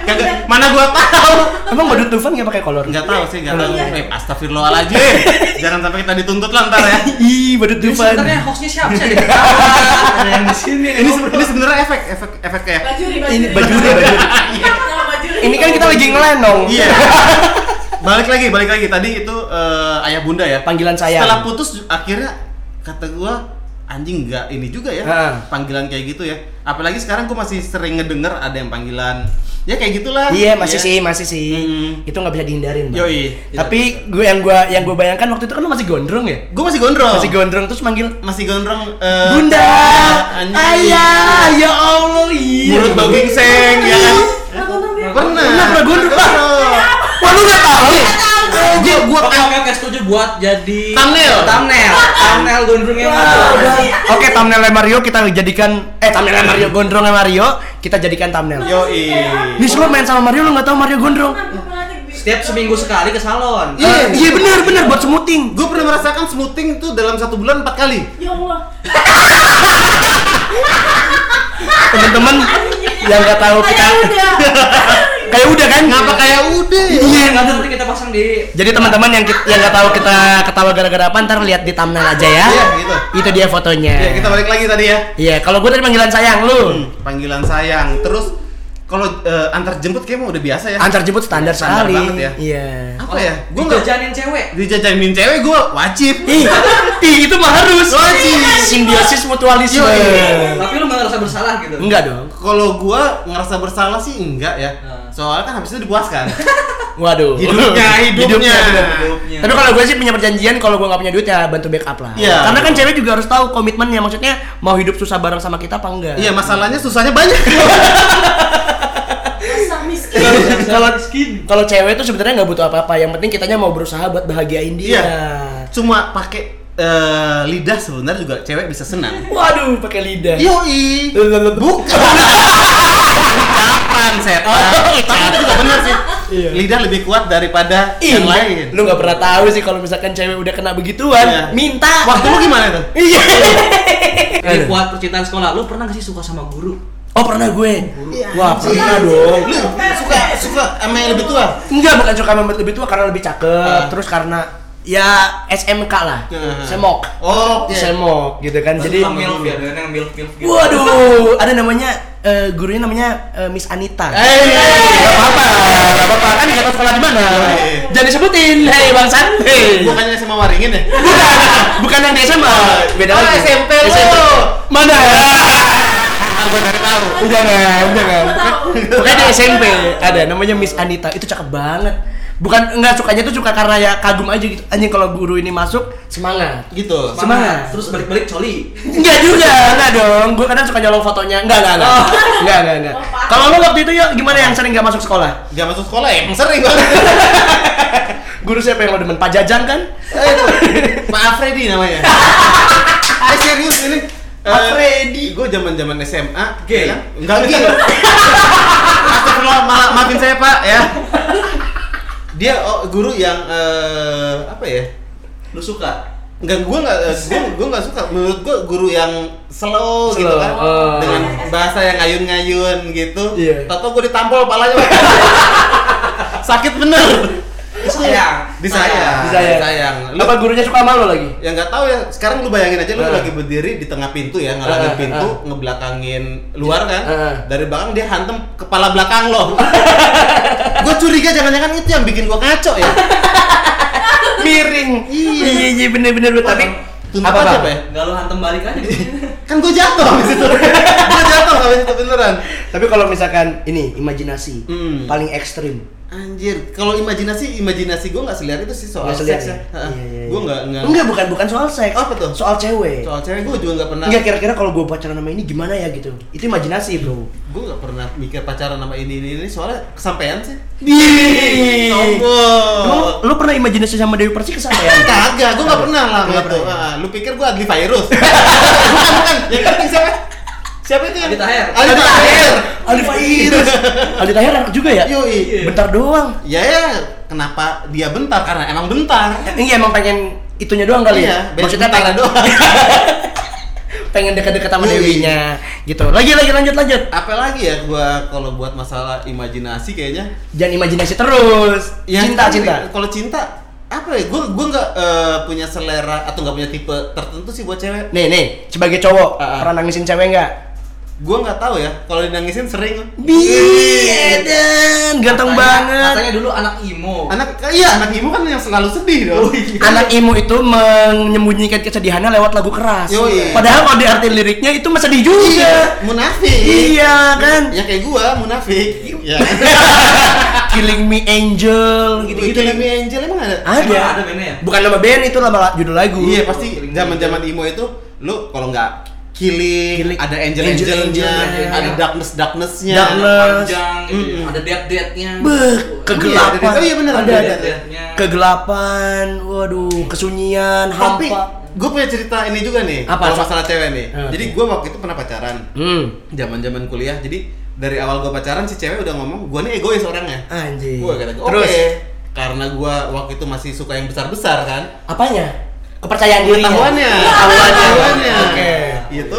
Kagak, mana gua tahu.
Emang badut Dufan nggak pakai kolor?
Enggak tahu sih,
Oh
enggak tahu.
iya.
Eh, astagfirullahalazim. Jangan sampai kita dituntut lah ntar ya.
Ih, badut
jadi
Dufan.
sebenarnya hostnya siapa sih? Ada Ada yang di sini.
Ini se- ini sebenarnya efek efek efek kayak
Bajuri, bajuri.
Ini bajuri, bajuri.
Nama bajuri.
Ini kan kita lagi ngelenong.
iya. balik lagi, balik lagi. Tadi itu eh, ayah bunda ya.
Panggilan sayang.
Setelah putus akhirnya kata gua anjing nggak ini juga ya
Heeh.
panggilan kayak gitu ya. Apalagi sekarang gua masih sering ngedenger ada yang panggilan ya kayak gitulah.
Iya, masih
Ya.
sih, masih sih.
Hmm.
Itu nggak bisa dihindarin. Bang.
Yoi.
Tapi gue yang gue yang gue bayangkan waktu itu kan lu masih gondrong ya?
Gua masih gondrong.
Masih gondrong terus manggil
masih gondrong eh,
Bunda,
Oh. anjing.
ayah, ya Allah, iya.
mulut bau gingseng ya kan
Aku nonton dia.
pernah
Pernah, pernah gondrong.
Gondrong.
lu nggak tahu? Gua gua
Oke oke oke setuju buat jadi
Thumbnail.
thumbnail thumbnail gondrongnya
Ah,
Mario.
udah. Oke, thumbnailnya Mario kita jadikan eh thumbnailnya Mario gondrongnya Mario kita jadikan thumbnail.
Yoi.
Nis lu main sama Mario lu nggak tahu Mario gondrong?
Setiap seminggu sekali ke salon.
Eh, Iya benar benar buat smoothing.
Gue pernah merasakan smoothing itu dalam satu bulan empat kali.
Ya Allah.
Teman-teman yang nggak tahu kita
Kayak udah.
kayak udah kan?
Ngapa kayak udah? ya?
Iya.
Nanti nanti kita pasang di
Jadi teman-teman yang ki- yang nggak tahu kita ketawa gara-gara apa ntar lihat di thumbnail aja ya.
Iya, gitu.
Itu dia fotonya.
Ya kita balik lagi tadi ya. Hmm,
Iya, kalau gue tadi panggilan sayang lu.
Panggilan sayang. Terus kalau eh, antar jemput kayaknya udah biasa ya.
Antar jemput standar
Standar
sekali.
banget ya.
Iya.
Apa ya? Gue
gua
nggak
jajanin cewek.
dijajanin cewek gue wajib.
Ih, ih, itu mah harus.
Oh, iya.
Simbiosis mutualisme.
Yoi.
Tapi lu gak ngerasa bersalah gitu.
Enggak dong.
Kalau gue ngerasa bersalah sih enggak ya.
Nah.
Soalnya kan habis itu dipuaskan.
Waduh.
Hidupnya, hidupnya.
Hidupnya.
Tapi kalau gue sih punya perjanjian kalau gue nggak punya duit ya bantu backup lah.
Iya.
Karena kan cewek juga harus tahu komitmennya. Maksudnya mau hidup susah bareng sama kita apa enggak?
Iya masalahnya susahnya banyak.
Masa miskin.
Kalau- Kalau kalau cewek tuh sebenarnya nggak butuh apa-apa. Yang penting kitanya mau berusaha buat bahagiain dia.
Iya. Cuma pakai eh, lidah sebenarnya juga cewek bisa
Iya.
senang.
Waduh, pakai lidah.
Iya. Yoi. Bukan. Ucapan setan. Tapi itu juga benar sih.
Oh, Iya.
Lidah lebih kuat daripada
Ih,
yang lain.
Lu nggak pernah tahu sih kalau misalkan cewek udah kena begituan,
Iya.
minta.
Waktu lu gimana tuh?
Iya.
Jadi buat percintaan sekolah, lu pernah gak sih suka sama guru?
Oh pernah gue. Wah
Iya.
pernah dong.
Lu suka suka sama yang lebih tua?
Enggak bukan suka sama lebih tua karena lebih cakep.
Iya.
Terus karena ya SMK lah.
Ah.
Semok.
Oh, oke.
Semok gitu kan. Jadi
Suka milf ya, dengan yang milf milf gitu.
Waduh, ada namanya eh, gurunya namanya eh, Miss Anita.
Eh,
Gak apa-apa, gak apa-apa. Kan nggak tahu sekolah di mana.
Eh.
Jangan disebutin. Hei Bang San. Hei.
bukannya sama waringin ya?
Bukan, bukan yang di SMA. Beda
Oh,
lagi.
SMP lu.
Mana?
Aku Kan dari tahu.
udah nggak, udah kan? nggak.
Gua tahu.
Pokoknya di SMP ada namanya Miss Anita. Itu cakep banget. Bukan enggak sukanya tuh suka karena ya kagum aja gitu. Anjing kalau guru ini masuk semangat.
Gitu.
Semangat.
Terus balik-balik coli.
Enggak juga, enggak dong. Gue kadang suka nyolong fotonya. Enggak, enggak, enggak. Enggak, enggak, enggak. Kalau lu waktu itu ya gimana yang sering gak masuk sekolah?
Gak masuk sekolah ya? Emang sering banget.
Guru siapa yang lo demen? Pak Jajang kan?
Eh, itu. Pak Freddy namanya. eh serius ini.
Pak Freddy.
Gue zaman-zaman SMA.
Gay.
ya kan? Enggak gay. Astagfirullah, ma- maafin saya, Pak, ya. Dia oh, guru yang eh, apa ya?
Lu suka?
Enggak, eh, gue nggak, gue gue nggak suka. Menurut gue guru yang slow, gitu
Slow,
kan,
eh.
dengan bahasa yang ngayun-ngayun gitu.
Iya.
Tato gue ditampol palanya. Pak. Sakit bener.
Sayang.
Disayang.
Disayang.
Disayang. Lu-
Apa gurunya suka sama lo lagi?
yang nggak tahu ya sekarang lu bayangin aja lu
Ah.
lagi berdiri di tengah pintu ya ngalangin
Ah,
pintu
ah.
ngebelakangin luar kan
Ah.
dari belakang dia hantem kepala belakang lo gue curiga jangan-jangan itu yang bikin gua ngaco ya
Miring. Iya, iya, iya bener-bener. gua. Tapi
tuntut
Apa,
aja
Bang?
pak ya
Enggak lu hantem balik aja.
kan gue jatuh habis itu gue jatuh habis itu beneran
tapi kalau misalkan ini imajinasi
Hmm.
paling ekstrim.
anjir kalau imajinasi imajinasi gue nggak seliar itu sih soal
Nggak selihat
seks ya
ya? Iya, iya, iya.
gue nggak nggak
Enggak, bukan bukan soal seks.
Apa tuh?
Soal cewek.
soal cewek gue juga nggak pernah
Enggak kira-kira kalau gue pacaran sama ini gimana ya gitu. Itu imajinasi, Bro.
gue nggak pernah mikir pacaran sama ini ini ini soalnya kesampaian sih
Ih.
sombong
Lu, lu pernah imajinasi sama Dewi Persik ya? kesampean?
Kagak, gue gak pernah lah
Nggak
gitu.
pernah.
Ah, lu pikir gue adli virus? bukan, bukan. Yang penting siapa? Siapa itu yang?
Aldi Taher.
Aldi Taher.
Aldi Fairus. Aldi Tahir anak juga ya?
Yoi.
Bentar doang.
Ya ya, kenapa dia bentar? Karena emang bentar.
Eh, Iya emang pengen itunya doang kali
Iya,
ya.
beres
Maksudnya
bentar
pengen,
doang.
pengen dekat-dekat sama
Yoi.
Dewinya gitu. Lagi lagi lanjut lanjut.
Apa lagi ya gua kalau buat masalah imajinasi kayaknya?
Jangan imajinasi terus.
Ya,
cinta
kan,
cinta.
Kalau cinta apa ya? Gue gue nggak eh, punya selera atau nggak punya tipe tertentu sih buat cewek.
Nih nih sebagai cowok
Ah, ah.
pernah nangisin cewek nggak?
Gue nggak tahu ya. Kalau dinangisin sering.
Bi, Eden, ganteng
Katanya-
banget.
Katanya dulu anak imo.
Anak iya anak ibu kan yang selalu sedih
Oh,
dong.
Anak Imo itu menyembunyikan kesedihannya lewat lagu keras.
Yoi.
Padahal kalau diarti liriknya itu mah sedih juga.
Iya, munafik.
Iya, kan?
Ya kayak gua munafik. Iya.
Killing Me Angel gitu-gitu.
Oh,
kan. Ah.
Itu Lemmy Angel emang ada?
Ada.
Emang ada bandnya ya?
Bukan nama band itu nama la- judul lagu.
Iya, pasti zaman-zaman emo itu lu kalau nggak Killing,
Killing.
ada angel
Angel-
angelnya,
angelnya.
ada darkness darknessnya.
Darkness.
Iya, panjang gitu ya. ada dead deadnya
Beh, kegelapan.
iya, Oh iya, bener,
ada,
ada,
ada,
ada.
Kegelapan, waduh, kesunyian,
Tapi
hampa.
gue punya cerita ini juga nih,
Apa?
kalau masalah cewek nih.
Eh,
Jadi gue waktu itu pernah pacaran,
Hmm.
zaman-zaman kuliah. Jadi dari awal gue pacaran si cewek udah ngomong gue nih egois orangnya.
Anjing.
Gue kata oke,
Iya. Terus
karena gue waktu itu masih suka yang besar-besar kan.
apanya? Kepercayaan ya? dirinya.
Pengetahuannya,
Pengetahuannya. Iya. Oke.
Oke. Itu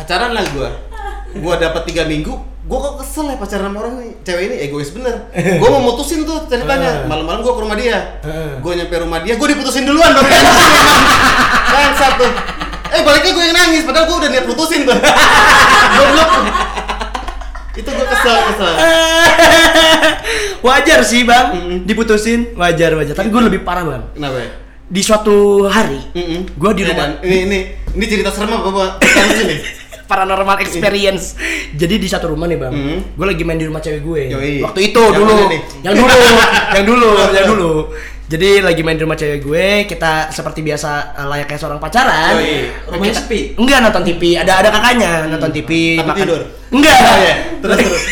acaran lah gue. Gue dapat tiga minggu, gue kok kesel ya pacaran sama orang nih cewek ini egois bener. Gue mau mutusin tuh ceritanya.
Eh.
Malam-malam gue ke rumah dia.
Eh.
Gue nyampe rumah dia, gue diputusin duluan dong. Kan satu. Eh baliknya gue yang nangis, padahal gue udah niat putusin tuh. Goblok. Itu gue kesel kesel.
Wajar sih, Bang. Diputusin, wajar wajar. Tapi gue lebih parah, Bang.
Kenapa? ya?
Di suatu hari,
Mm-mm.
gue di
Ini,
rumah
Dan, Ini ini ini cerita serem apa apa? Serius ini.
paranormal experience. Jadi di satu rumah nih bang,
Iya. Hmm.
gue lagi main di rumah cewek gue.
Yoi.
Waktu itu
Yang
dulu,
mana nih?
yang dulu, yang dulu, yang dulu. Jadi lagi main di rumah cewek gue, kita seperti biasa eh, layaknya seorang pacaran.
Yoi.
Rumahnya
Main
sepi.
sepi?
Enggak nonton TV, ada ada kakaknya nonton TV.
Tapi tidur?
Enggak.
Oh, iya. Terus, terus.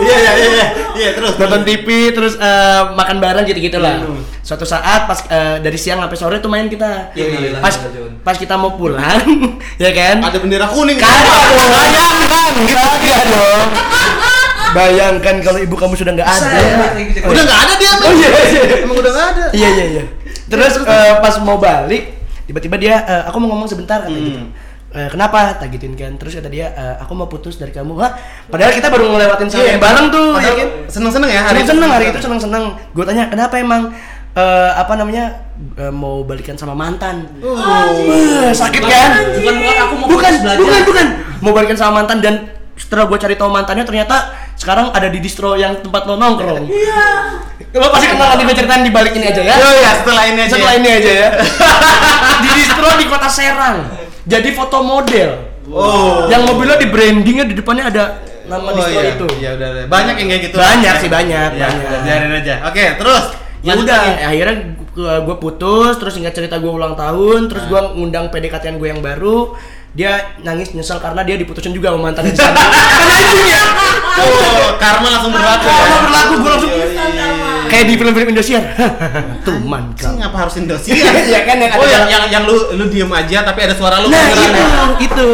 Iya iya, iya iya iya iya iya terus
nonton TV terus eh, makan bareng gitu-gitu lah.
Hmm.
Suatu saat pas eh, dari siang sampai sore tuh main kita.
Yoi.
Pas pas kita mau pulang, ya kan?
Iya, ada bendera kuning
Kagak dong, bayangkan
Gitu
Kagak dong Bayangkan kalau ibu kamu sudah nggak ada
udah nggak ada dia
Oh, iya, iya.
emang udah nggak ada
Iya iya iya Terus eh, pas mau balik Tiba-tiba dia, eh, aku mau ngomong sebentar kata gitu
Hmm.
Eh, kenapa? Tak gituin kan Terus kata dia, "Eh, aku mau putus dari kamu Hah? Padahal kita baru ngelewatin sehari
Iya.
bareng tuh
Padahal
ya kan?
seneng-seneng ya hari
Seneng
itu.
seneng hari itu seneng seneng Gue tanya, kenapa emang eh, apa namanya eh, mau balikan sama mantan
Oh.
Wah, sakit kan?
Iya,
Bukan, bukan, aku mau
bukan,
fokus belajar.
bukan, bukan. Mau balikan sama mantan dan setelah gue cari tahu mantannya ternyata sekarang ada di distro yang tempat lo nongkrong. Iya. Lo pasti kenal nanti gue ceritain dibalikin aja ya.
oh ya setelah ini aja
Setelah ini aja ya. di distro di kota Serang. Jadi foto model.
oh
Yang mobilnya di brandingnya di depannya ada nama
Oh,
distro
iya.
itu.
ya udah udah. banyak yang kayak gitu
Banyak sih, banyak,
ya,
banyak.
udah, biarin aja oke terus
ya
Lanjut
udah
lagi.
akhirnya gue putus terus singkat cerita gue ulang tahun terus
Nah.
gue ngundang PDKT-an gue yang baru dia nangis nyesel karena dia diputusin juga sama mantannya di sana. Karena anjing ya.
oh karma langsung berlaku
Karma berlaku, gua langsung-
Yoi.
kayak di film-film Indosiar tuman
Sih,
kau
ngapa harus Indonesia?
Iya kan, yang
oh
ada-
yang yang yang lu lu diem aja tapi ada suara lu
nah
kedengeran
itu
ya?
itu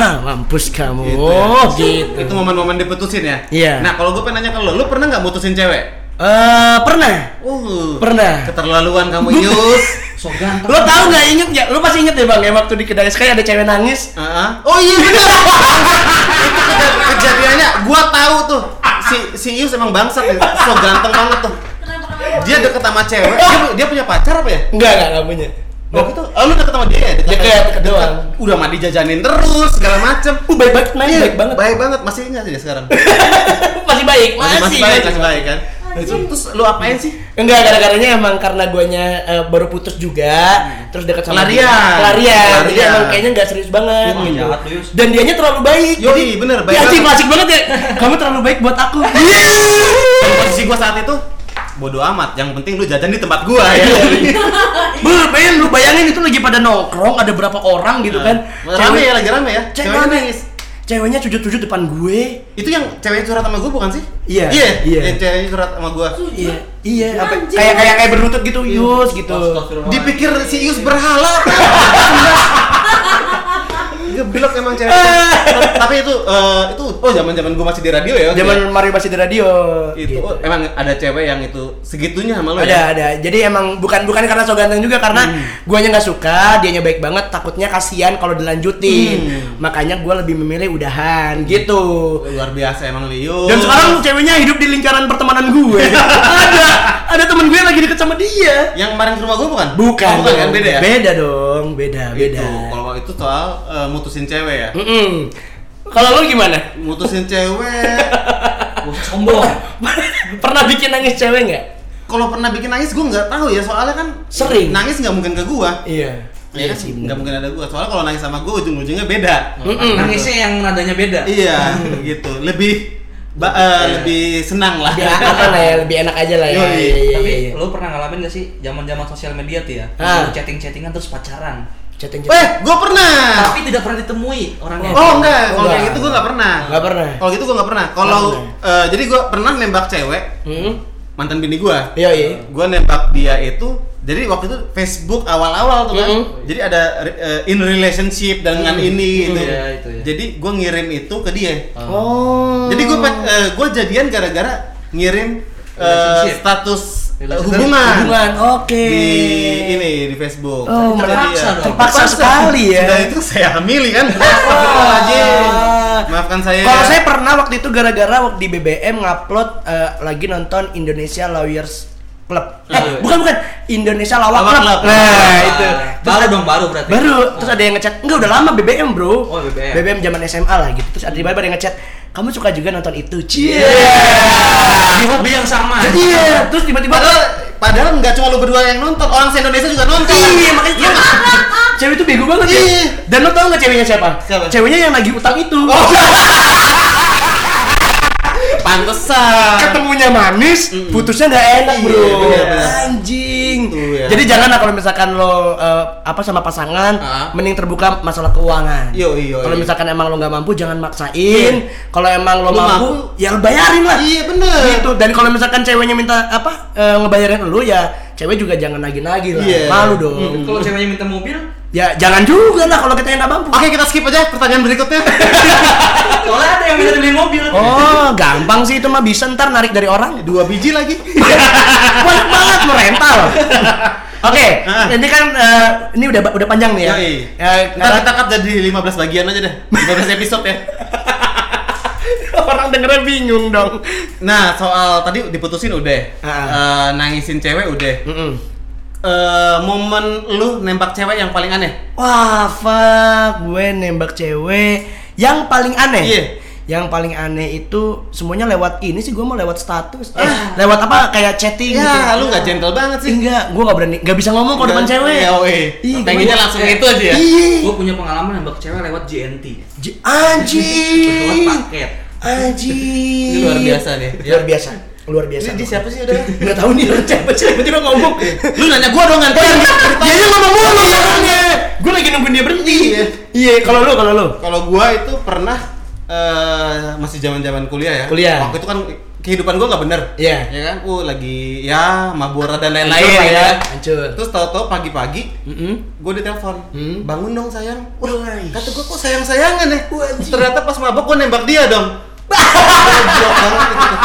ha mampus kamu
Gitu ya.
oh gitu
Itu momen-momen diputusin ya.
Iya.
Nah kalau gue pengen nanya ke lu, lu pernah nggak mutusin cewek?
Eh, pernah
Uh.
pernah
Keterlaluan kamu Yus.
so ganteng
lo tau nggak inget ya lo pasti inget ya bang ya waktu di kedai sky ada cewek nangis
Heeh. Oh iya bener. Itu kej- kejadiannya gua tahu tuh. Si si Yus emang bangsat ya. So ganteng banget tuh. Dia deket sama cewek. Dia, dia punya pacar apa ya?
enggak enggak nggak punya
Waktu itu, oh, lu deket sama dia ya?
Deket, deket doang.
Udah mah dijajanin terus, segala macem
Uh, baik banget, nanya baik banget.
Iya, Baik banget, masih ingat dia sekarang?
Masih baik,
Masih, masih baik, masih baik kan? Terus lu apain sih?
Enggak, gara-garanya emang karena guanya eh, baru putus juga,
Hmm.
terus dekat sama
Pelarian.
dia. Pelarian. Jadi
Pelarian.
emang kayaknya enggak serius banget
Wah,
gitu.
jahat lu, Yus.
Dan dianya terlalu baik.
Hmm. Yoi, bener, baik
Ya, anjing
banget. Iya.
klasik banget ya. Kamu terlalu baik buat aku.
Kalau posisi gua saat itu bodoh amat, yang penting lu jajan di tempat gua ya.
Iya. Bel, men, lu bayangin itu lagi pada nongkrong, ada berapa orang gitu kan.
Ah. Rame ya, lagi rame ya.
cewek
Ceweknya
nangis. Ceweknya sujud-sujud depan gue.
Itu yang ceweknya curhat sama gua bukan sih?
Iya.
Iya.
Iya.
Yang ceweknya curhat sama gua.
Iya, iya, apa kayak kayak kayak berlutut gitu,
Iya.
Yus gitu.
Dipikir si Ius berhala. Geblok emang cewek. Tapi itu eh, itu oh zaman-zaman gua masih di radio ya. waktu
Zaman Mario masih di radio.
ya. itu
gitu.
oh, emang ada cewek yang itu segitunya sama lu
ada
ya? Hmm.
ada jadi emang bukan bukan karena so ganteng juga karena guanya nggak suka dianya baik banget takutnya kasihan kalau dilanjutin
Hmm.
makanya gua lebih memilih udahan gitu
Luar biasa emang Lius.
dan sekarang ceweknya hidup di lingkaran pertemanan gue ada ada teman gue lagi deket sama dia
yang kemarin ke rumah gua bukan?
bukan
Oh, bukan
dong.
kan beda ya?
beda dong beda beda
Gitu. Kalau itu soal eh, mutusin cewek ya.
Mm-mm. kalau lo gimana
Mutusin cewek.
Wah, sombong
Oh. pernah bikin nangis cewek nggak
Kalau pernah bikin nangis gua nggak tahu ya soalnya kan
Sering.
Nangis nggak mungkin ke gua.
iya
Iya sih, nggak mungkin ada gua. Soalnya kalau nangis sama gua ujung-ujungnya beda.
Mm-mm.
nangisnya Nah, yang nadanya beda
Iya, gitu. Lebih ba-
Iya.
eh, lebih senang lah.
lebih apa lah ya lebih enak aja lah ya
Yoi.
Iya, iya,
tapi
iya.
lu pernah ngalamin gak sih zaman zaman sosial media tuh ya
Ah.
chatting chattingan terus pacaran
Chatting
Eh, gue pernah.
Ah.
Tapi tidak pernah ditemui orangnya.
Oh enggak, kalau
Enggak.
kayak gitu gue nggak pernah.
Nggak pernah.
Kalau gitu gue nggak pernah. Kalau eh, jadi gue pernah nembak cewek
Hmm.
mantan bini gue.
Iya, iya.
Gue nembak dia itu. Jadi waktu itu Facebook awal-awal tuh kan.
Mm-mm.
Mm-hmm.
Jadi ada re- eh, in relationship dengan ini itu.
Iya, itu ya.
Jadi gue ngirim itu ke dia.
Oh.
Jadi gue gue jadian gara-gara ngirim eh,
Relationship.
status eh,
Relationship.
hubungan.
hubungan. Oke.
Di ini di Facebook.
Oh,
Tapi
terpaksa
dia-
dong.
Terpaksa sekali ya.
Sudah itu saya hamili kan.
Wah.
Astagfirullahaladzim. Maafkan saya.
Ah. Kalau saya pernah waktu itu gara-gara waktu di BBM ngupload eh, lagi nonton Indonesia Lawyers Club. Eh,
Lawyers.
bukan bukan Indonesia Lawak
Iya. Lawak
Club.
Club.
Nah,
Ah,
itu.
Baru dong, baru berarti. Ah.
Baru terus ada yang ngechat, "Enggak udah lama BBM, Bro."
Oh, BBM.
BBM zaman SMA lah gitu. Terus ada tiba-tiba ada yang ngechat, "Kamu suka juga nonton itu?" Cie.
Iya. Di hobi yang sama.
Jadi terus tiba-tiba
Padahal padahal nggak cuma lu berdua yang nonton, orang se Indonesia juga nonton.
Iya makanya cewek, cewek itu bego banget ya.
Iya.
Dan lo tau gak ceweknya siapa?
Siapa?
Ceweknya yang lagi utang itu.
Oh.
Pantesan.
ketemunya manis, putusnya nggak enak
Ah. Iya,
bro.
benar-benar.
Anjing.
Itu ya.
Jadi jangan lah kalau misalkan lo eh, apa sama pasangan,
Ah.
mending terbuka masalah keuangan.
Yo, yo,
Kalau
yo.
misalkan emang lo nggak mampu, jangan maksain. Kalau emang lo,
Lo
mampu,
mampu,
ya lo bayarin lah.
Iya bener.
Gitu. Dan kalau misalkan ceweknya minta apa eh, ngebayarin lo ya, cewek juga jangan nagih-nagih lah.
Iya.
Malu dong.
Kalau ceweknya minta mobil,
Ya jangan juga lah kalau kita yang nggak mampu.
Oke kita skip aja pertanyaan berikutnya.
soalnya ada yang bisa dibeli mobil.
Oh, gampang sih itu mah bisa ntar narik dari orang.
Dua biji lagi.
banyak banget merental. Oke,
Ah.
ini kan eh, ini udah udah panjang nih ya.
Yoi.
Ya,
Ntar
karena
kita cut jadi 15 bagian aja deh. 15 episode ya.
orang dengernya bingung dong.
Nah soal tadi diputusin udah,
Ah.
Eh, nangisin cewek udah. Eh, momen lu nembak cewek yang paling aneh?
Wah, fuck, gue nembak cewek yang paling aneh.
Iya.
Yang paling aneh itu semuanya lewat ini sih gue mau lewat status. Eh, lewat apa kayak chatting
Ah. Ya
gitu.
lu nggak gentle banget sih.
Enggak, gue gak berani, gak bisa ngomong kalau depan cewek.
Ya,
Ih,
Pengennya
gua-
langsung itu aja ya.
Iya.
Gue punya pengalaman nembak cewek lewat JNT.
J-
Lewat
Anjing.
paket.
Anjing.
Ini luar biasa Ya, nih.
Luar biasa. Luar biasa.
Ini dia siapa sih udah?
Enggak tahu nih orang siapa sih tiba-tiba ngomong. Oh, iya,
lu nanya gua dong ngantin.
Dia aja ngomong mulu orangnya. Gue Iya. lagi nungguin dia berhenti.
Iya.
Iya, kalau lu kalau lu.
Kalau gua itu pernah eh masih zaman-zaman kuliah ya.
Kuliah.
Waktu itu kan kehidupan gua nggak bener.
Iya.
Ya kan, gua lagi ya mabora dan lain-lain
Hancur lah
ya.
ya.
kan.
Hancur.
Terus tahu-tahu pagi-pagi
Heeh.
gue ditelepon
Hmm.
bangun dong sayang wah
Wais.
kata gue kok sayang sayangan ya ternyata pas mabok gue nembak dia dong Goblok banget gitu. itu.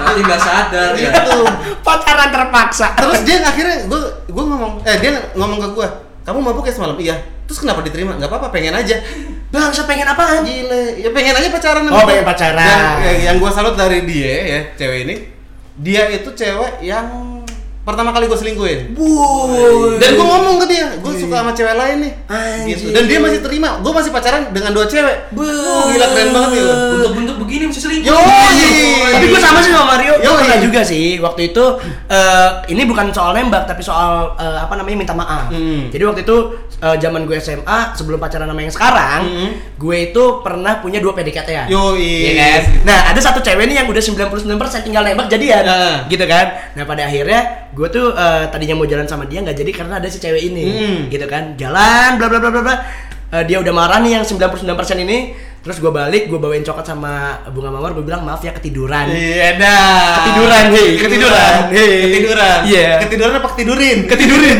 Berarti nggak sadar ya.
Gitu.
Pacaran terpaksa.
terus dia akhirnya gue gue ngomong eh dia ngomong ke gue kamu mabuk ya semalam iya terus kenapa diterima nggak apa-apa pengen aja
Bang, saya pengen apaan?
gile ya pengen aja pacaran sama
Oh,
gua.
pengen pacaran.
Dan eh, yang, gue salut dari dia ya cewek ini dia itu cewek yang pertama kali gue selingkuhin
Wuh.
dan gue ngomong ke dia gue suka sama cewek lain nih
Iya. Anjing.
gitu dan dia masih terima gue masih pacaran dengan dua cewek
Wuh.
gila keren banget ya lu.
Bentuk-bentuk begini mesti selingkuh.
Yoi.
Tapi gue sama sih sama Mario, Iya. gue
Yoi.
Iya. pernah juga sih waktu itu eh, ini bukan soal nembak tapi soal eh, apa namanya minta maaf.
Hmm.
Jadi waktu itu eh, zaman gue SMA sebelum pacaran sama yang sekarang,
Hmm.
gue itu pernah punya dua PDKT-an. Iya
Yoi.
kan? Nah, ada satu cewek nih yang udah 99% tinggal nembak jadian.
Nah.
Gitu kan? Nah, pada akhirnya gue tuh eh, tadinya mau jalan sama dia nggak jadi karena ada si cewek ini.
Hmm.
Gitu kan? Jalan bla bla bla bla bla. Eh, dia udah marah nih yang 99% ini. Terus gue balik, gue bawain coklat sama bunga mawar, gue bilang maaf ya ketiduran.
iya dah
Ketiduran, hei. Ketiduran, hei.
ketiduran
Iya.
ketiduran apa ketidurin Iya.
Ketidurin.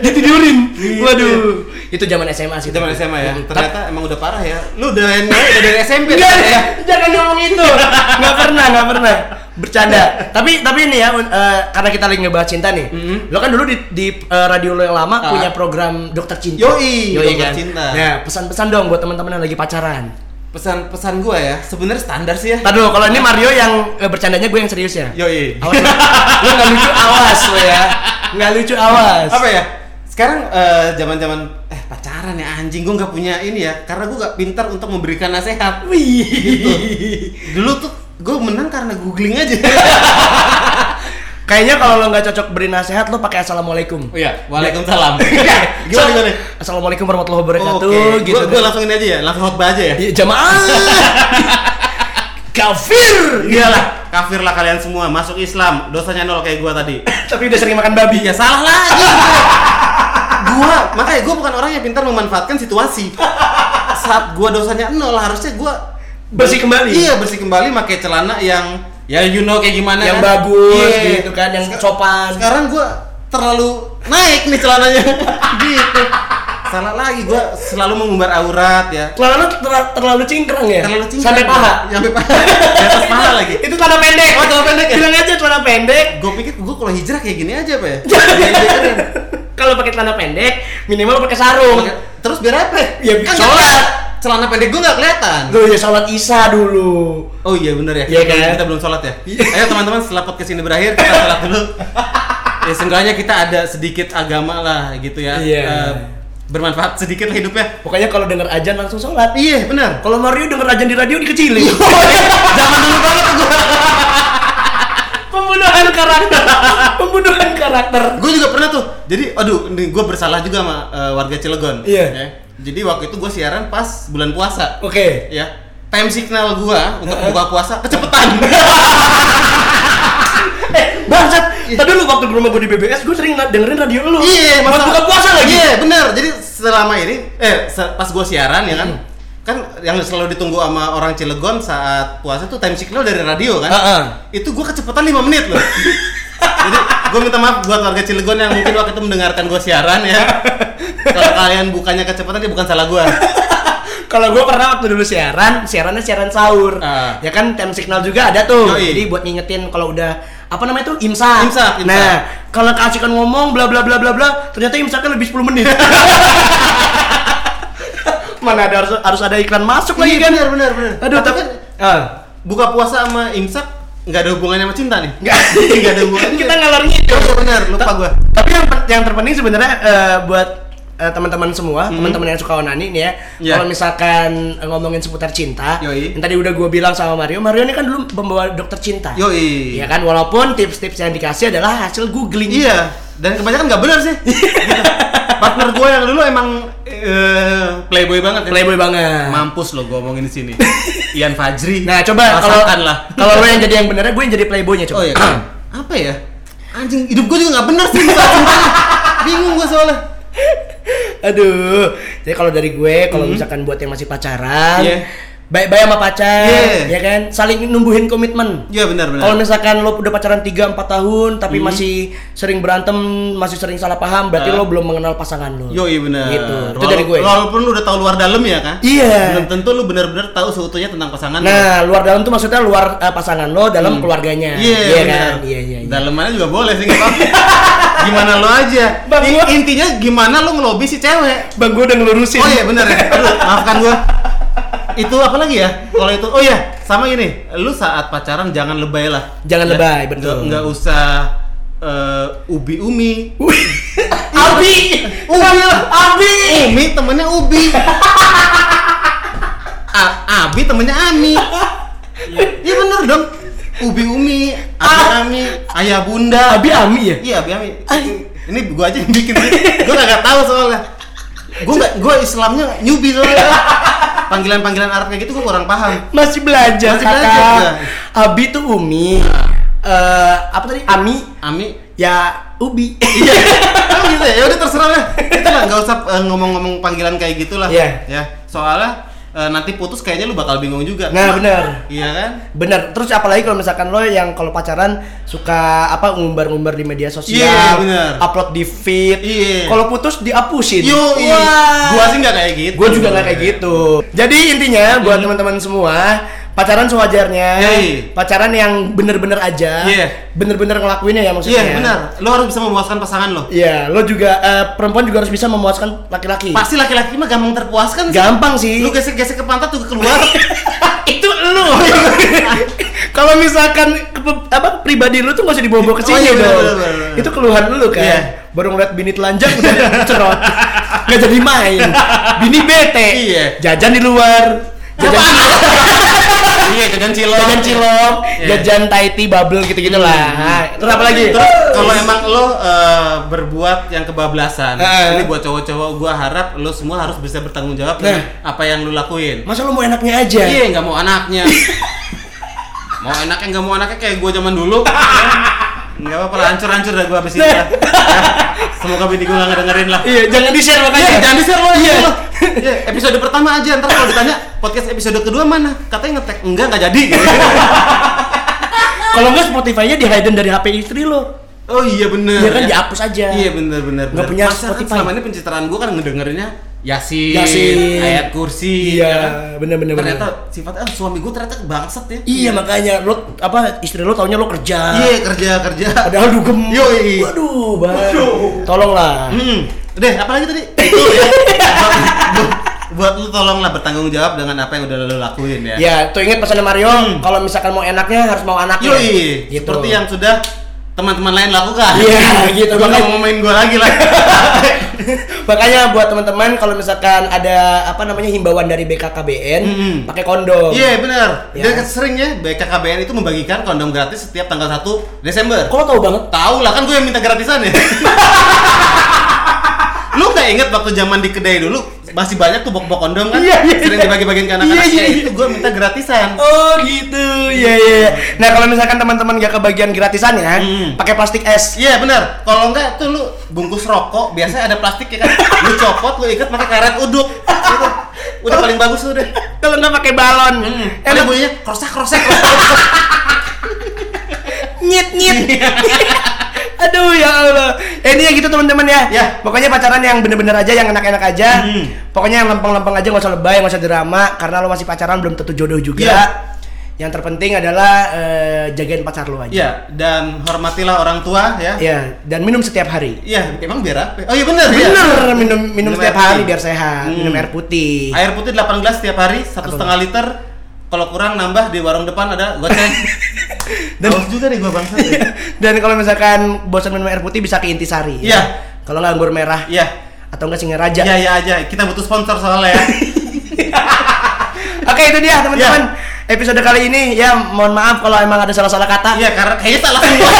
Ditidurin. Waduh. Itu zaman SMA sih.
zaman
tapi.
SMA ya
Hmm, tapi-
ternyata emang udah parah ya lu udah udah dari SMP
Enggak,
ternyata ya
jangan ngomong itu. Enggak pernah, enggak pernah. Bercanda. tapi tapi ini ya eh, karena kita lagi ngebahas cinta nih. Lo kan dulu di, di, eh, radio lo yang lama
Mm-hmm. Ah.
punya program Dokter Cinta.
Yoi, Dokter
kan?
Cinta.
Nah, pesan-pesan dong buat teman-teman yang lagi pacaran.
pesan-pesan gue ya sebenarnya standar sih ya
Tadi dulu kalau ini Mario yang eh, bercandanya gue yang serius ya.
Yoi.
Awas. lo- lo enggak lucu awas lo ya. Enggak lucu awas.
apa ya sekarang eh, zaman-zaman eh pacaran ya anjing gue nggak punya ini ya karena gue nggak pintar untuk memberikan nasihat Gitu.
Wih.
dulu tuh gue menang karena googling aja
Kayaknya kalau lo nggak cocok beri nasihat lo pakai assalamualaikum.
iya waalaikumsalam
Oh So,
Iya. gimana gimana
Assalamualaikum warahmatullahi
Oke,
wabarakatuh. Gitu.
gue gue langsungin aja ya, langsung khotbah aja ya.
Ya, jamaah. Kafir. Iyalah.
Kafirlah kalian semua, masuk Islam, dosanya nol kayak gue tadi.
Ya, Tapi udah sering makan babi.
Iya salah lagi. gua makanya gua bukan orang yang pintar memanfaatkan situasi saat gua dosanya nol harusnya gua
Bersih kembali.
iya bersih kembali pakai celana yang ya you know kayak gimana
Yang
kan.
bagus
Iya.
gitu kan, yang
Sek-
sopan.
sekarang gua terlalu naik nih celananya gitu salah lagi gua selalu mengumbar aurat ya
Celana lu ter- terlalu cingkrang ya?
terlalu cingkrang
Sampai paha.
sampai paha di atas paha lagi
Itu celana pendek.
Oh, celana pendek ya?
Bilang aja celana pendek.
gue pikir gue kalau hijrah kayak gini aja apa ya Kayak gini keren.
Kalau pakai celana pendek, minimal pakai sarung.
terus biar apa
Oh. Ya,
kan
sholat.
sholat celana pendek gue nggak kelihatan
Lu ya sholat isya dulu.
Oh iya benar ya.
Iya,
Kita-
kan?
Kita belum sholat ya. Ayo teman-teman setelah podcast ini berakhir kita sholat dulu. ya seenggaknya kita ada sedikit agama lah gitu ya.
Iya.
Eh, bermanfaat sedikit lah hidupnya.
Pokoknya kalau denger ajan langsung sholat. Oh, iya.
Iya benar.
Kalau Mario denger ajan di radio dikecilin.
Zaman dulu banget tuh gua.
Pembunuhan karakter. Pembunuhan karakter.
Gue juga pernah tuh. Jadi aduh ini gue bersalah juga sama eh, warga Cilegon.
Iya. Oh.
Ya. Jadi waktu itu gue siaran pas bulan puasa.
Oke.
Ya. Time signal gua untuk buka puasa kecepetan.
Bangsat, tadi lu waktu di rumah gue di BBS, gue sering na- dengerin radio lu.
Iya,
Pas buka puasa lagi.
Iya, benar. Jadi selama ini eh se- pas gua siaran ya
Hmm.
kan. Kan yang selalu ditunggu sama orang Cilegon saat puasa tuh time signal dari radio kan.
Heeh.
Itu gua kecepatan 5 menit loh. Jadi gua minta maaf buat warga Cilegon yang mungkin waktu itu mendengarkan gua siaran ya. Kalau kalian bukannya kecepatan ya bukan salah gua.
Kalau gue pernah waktu dulu siaran, siarannya siaran sahur.
Ah.
Ya kan time signal juga ada tuh.
Yoi.
Jadi buat ngingetin kalau udah apa namanya tuh imsak.
Imsak, imsak.
Nah, kalau kasihkan ngomong bla bla bla bla bla, ternyata imsaknya lebih 10 menit. Mana ada harus, harus ada iklan masuk lagi
Iya,
kan?
benar, benar, benar.
Aduh,
Tapi
tapi
kan-
Ah.
Buka puasa sama imsak nggak ada hubungannya sama cinta nih.
Nggak.
Nggak ada hubungannya.
Kita ngalor ngidul.
Iya, benar, lupa gua.
Tapi yang yang terpenting sebenarnya eh, buat eh, teman-teman semua, teman-teman yang suka onani nih ya.
Hmm. Iya.
Kalau misalkan eh, ngomongin seputar cinta, yang
Yoi.
tadi udah gue bilang sama Mario, Mario ini kan dulu pembawa dokter cinta.
Yoi.
Iya kan, walaupun tips-tips yang dikasih adalah hasil googling.
Iya, dan kebanyakan nggak benar sih. Gitu. Partner gue yang dulu emang eh, playboy banget. ya.
Playboy banget.
Mampus lo gue omongin di sini. Ian Fajri.
Nah, coba kalau
Rasakan lah.
kalau lo yang jadi yang benernya, gue yang jadi playboynya coba.
Oh iya. kan? Apa ya? Anjing, hidup gue juga nggak benar sih. soal cinta. Bingung gue soalnya.
Aduh. Jadi kalau dari gue, kalau misalkan buat yang masih pacaran,
Hmm. Iya.
baik-baik sama pacar,
Iya.
ya kan? Saling numbuhin komitmen.
Iya benar benar.
Kalau misalkan lo udah pacaran 3 4 tahun tapi masih sering berantem, masih sering salah paham, berarti
Hmm. Ah.
lo belum mengenal pasangan lo.
Yo iya benar.
Gitu. Itu
Walau-
dari gue.
Walaupun lu udah tahu luar dalam ya kan?
Iya.
Belum tentu lu benar-benar tahu seutuhnya tentang pasangan. lu.
Nah, luar dalam tuh maksudnya luar eh, pasangan lo dalam keluarganya.
Iya
kan?
benar.
Iya, iya, iya.
Dalemannya juga boleh sih nggak apa-apa. gimana lo aja.
Bang,
I-
gua-
intinya gimana lo ngelobi si cewek.
Bang gue udah ngelurusin.
Oh iya benar ya. Aduh, maafkan gua. Itu apa lagi ya? Kalau itu oh iya, sama gini. Lu saat pacaran jangan lebay lah.
Jangan
Ya,
lebay,
nggak-
betul.
Nggak usah eh, ubi umi.
Abi.
Ubi lah.
Abi.
Umi temennya ubi. A- Abi temennya Ami. Iya bener dong. Ubi Umi, Abi Ami, Ayah
Ah.
Bunda.
Abi Ami ya?
Iya, Abi Ami. Ini gua aja yang bikin. Gua kagak tahu soalnya. Gua nggak, gua Islamnya newbie soalnya. Panggilan-panggilan Arab kayak gitu gua kurang paham.
Masih belajar.
Masih
kakak.
belajar, iya. gua.
Abi tuh Umi. Eh apa tadi? Ami
Ami
ya Ubi.
Iya. Kan gitu ya. Ya udah terserah lah. Kita nggak nggak usah eh, ngomong-ngomong panggilan kayak gitulah.
Iya.
Ya. Soalnya eh, nanti putus kayaknya lu bakal bingung juga.
Nah, benar.
Iya kan?
Bener, terus apalagi kalau misalkan lo yang kalau pacaran suka apa ngumbar-ngumbar di media sosial,
Iya, bener.
upload di feed,
Iya.
kalau putus dihapusin.
Yo, iya.
Wah.
gua sih nggak kayak gitu.
Gua juga nggak kayak gitu. Jadi intinya
Iya.
buat teman-teman semua, pacaran sewajarnya,
Yoi.
pacaran yang bener-bener aja,
Iya.
bener-bener ngelakuinnya ya
Iya,
maksudnya.
benar. Lu harus bisa memuaskan pasangan lo.
Iya, lo juga eh, perempuan juga harus bisa memuaskan laki-laki.
Pasti laki-laki mah gampang terpuaskan sih.
Gampang sih.
Lu gesek-gesek ke pantat tuh keluar.
itu lu kalau misalkan kepe- apa pribadi lu tuh gak usah dibawa ke
Oh,
sini
iya, bener,
dong
bener, bener.
itu keluhan lu kan
Iya.
baru ngeliat bini telanjang udah cerot nggak jadi main bini bete
Iya.
jajan di luar jajan
iya, jajan cilok.
jajan cilok
Iya. Hmm.
jajan taiti bubble gitu gitu lah terus apa lagi
Terus kalau emang lo eh, berbuat yang kebablasan,
Heeh.
ini buat cowok-cowok gua harap lo semua harus bisa bertanggung jawab
Nah.
dengan apa yang lo lakuin.
masa lu mau enaknya aja
Iya, nggak
Nah.
mau anaknya. mau enaknya nggak mau anaknya kayak gua zaman dulu. Enggak apa-apa lah, hancur-hancur dah gua abis ini lah. Ya, Semoga bini gua gak ngedengerin lah. Nah,
Iya, jangan di-share makanya.
jangan di-share lo. Iya. Iya, episode pertama aja ntar kalau ditanya podcast episode kedua mana? Katanya ngetek. Enggak, enggak jadi.
Kalau enggak Spotify-nya di hidden dari HP istri lo.
Oh iya bener.
Iya kan, dihapus aja.
Iya bener bener.
Nggak
bener.
punya
Masa kan
Spotify.
selama ini pencitraan gua kan ngedengerinnya Yasin,
Yasin.
ayat kursi.
Iya,
ya kan?
bener-bener,
Ternyata sifatnya ah, suami gua ternyata bangsat ya.
Iya, makanya lo apa istri lo taunya lo kerja.
Iya kerja kerja.
Padahal dugem.
Yoi.
Waduh, bang. Tolonglah.
Hmm. Deh, apalagi tadi? Itu ya. Buat- Buat lu tolonglah bertanggung jawab dengan apa yang udah lo lakuin ya.
Ya, tuh inget pesannya Mario, kalau misalkan mau enaknya harus mau anaknya.
Yoi,
Gitu.
seperti yang sudah teman-teman lain lakukan.
Iya, gitu.
Gua nggak
Makanya-
mau main gua lagi lah.
Makanya buat teman-teman kalau misalkan ada apa namanya himbauan dari BKKBN,
Mm-mm.
pakai kondom.
Iya, benar.
Ya.
Dan sering ya BKKBN itu membagikan kondom gratis setiap tanggal 1 Desember.
Kok lo tahu banget?
Tahu lah kan gue yang minta gratisan ya. lu nggak inget waktu zaman di kedai dulu masih banyak tuh bok-bok kondom kan
Iya, iya,
sering
iya.
dibagi-bagiin ke anak-anak
Iya, iya,
Ya,
iya.
itu gue minta gratisan
Oh gitu, iya iya. iya. Nah kalau misalkan teman-teman gak kebagian gratisan ya,
Mm.
pakai plastik es.
Iya benar. Kalau enggak tuh lu bungkus rokok biasanya ada plastik ya kan. Lu copot, lu ikat pakai karet uduk. Gitu. Udah paling bagus tuh deh.
Kalau nggak pakai balon,
Eh
enak
bunyinya krosak krosak. krosak.
nyit nyit. Aduh ya Allah. Eh, ini ya gitu teman-teman ya.
Ya.
Pokoknya pacaran yang bener-bener aja, yang enak-enak aja.
Mm.
Pokoknya yang lempeng-lempeng aja, nggak usah lebay, nggak usah drama. Karena lo masih pacaran belum tentu jodoh juga.
Iya.
Yang terpenting adalah eh, jagain pacar lo aja.
Iya, dan hormatilah orang tua ya. Iya,
Ya, dan minum setiap hari.
emang biar apa? Oh iya benar. iya.
Bener, minum minum setiap
air
hari
putih.
biar sehat.
Hmm.
Minum air putih.
Air putih 8 gelas setiap hari, satu setengah liter. Kalau kurang nambah di warung depan ada goceng. Dan
Dan-
juga nih gua bangsa. ya.
Dan kalau misalkan bosan minum air putih bisa ke intisari.
Iya.
Kalau nggak anggur merah
Iya.
atau nggak singaraja.
Iya iya aja. Kita butuh sponsor soalnya ya.
Oke itu dia teman-teman episode kali ini ya mohon maaf kalau emang ada salah-salah kata.
Iya karena kayaknya salah semua.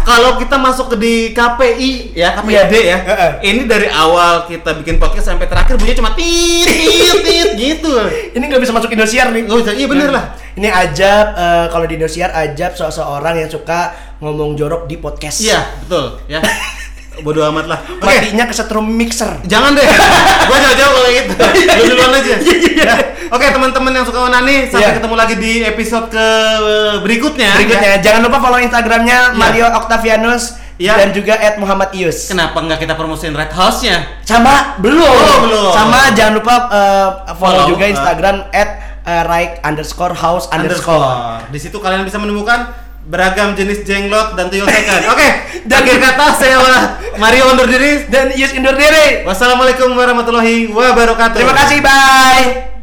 Kalau kita masuk ke di KPI ya KPID
Iya.
ya,
Heeh.
ini dari awal kita bikin podcast sampai terakhir bunyinya cuma tit tit tit gitu.
Ini nggak bisa masuk Indosiar nih.
Nggak bisa, iya bener lah.
Ini ajab eh, kalau di Indosiar ajab seseorang yang suka ngomong jorok di podcast.
Iya betul ya. Bodoh amat lah. Oke,
Matinya kesetrum mixer.
jangan deh. Gua jauh-jauh kalau gitu.
Iya,
Lu duluan aja. Ya. Oke teman-teman yang suka onani sampai
Iya.
ketemu lagi di episode ke eh, berikutnya.
Berikutnya jangan lupa follow Instagramnya
Iya.
Mario Octavianus
Iya.
dan juga @muhammadius.
Kenapa nggak kita promosiin Red House-nya?
Sama belum.
Oh, belum.
Sama jangan lupa eh, follow,
Follow,
juga
eh.
Instagram at eh, right underscore house underscore.
underscore. Di situ kalian bisa menemukan beragam jenis jenglot dan tuyul tekan. Oke,
Dan-
akhir kata saya Mario undur diri.
Dan Yus indoor diri.
Wassalamualaikum warahmatullahi wabarakatuh.
Terima kasih, bye.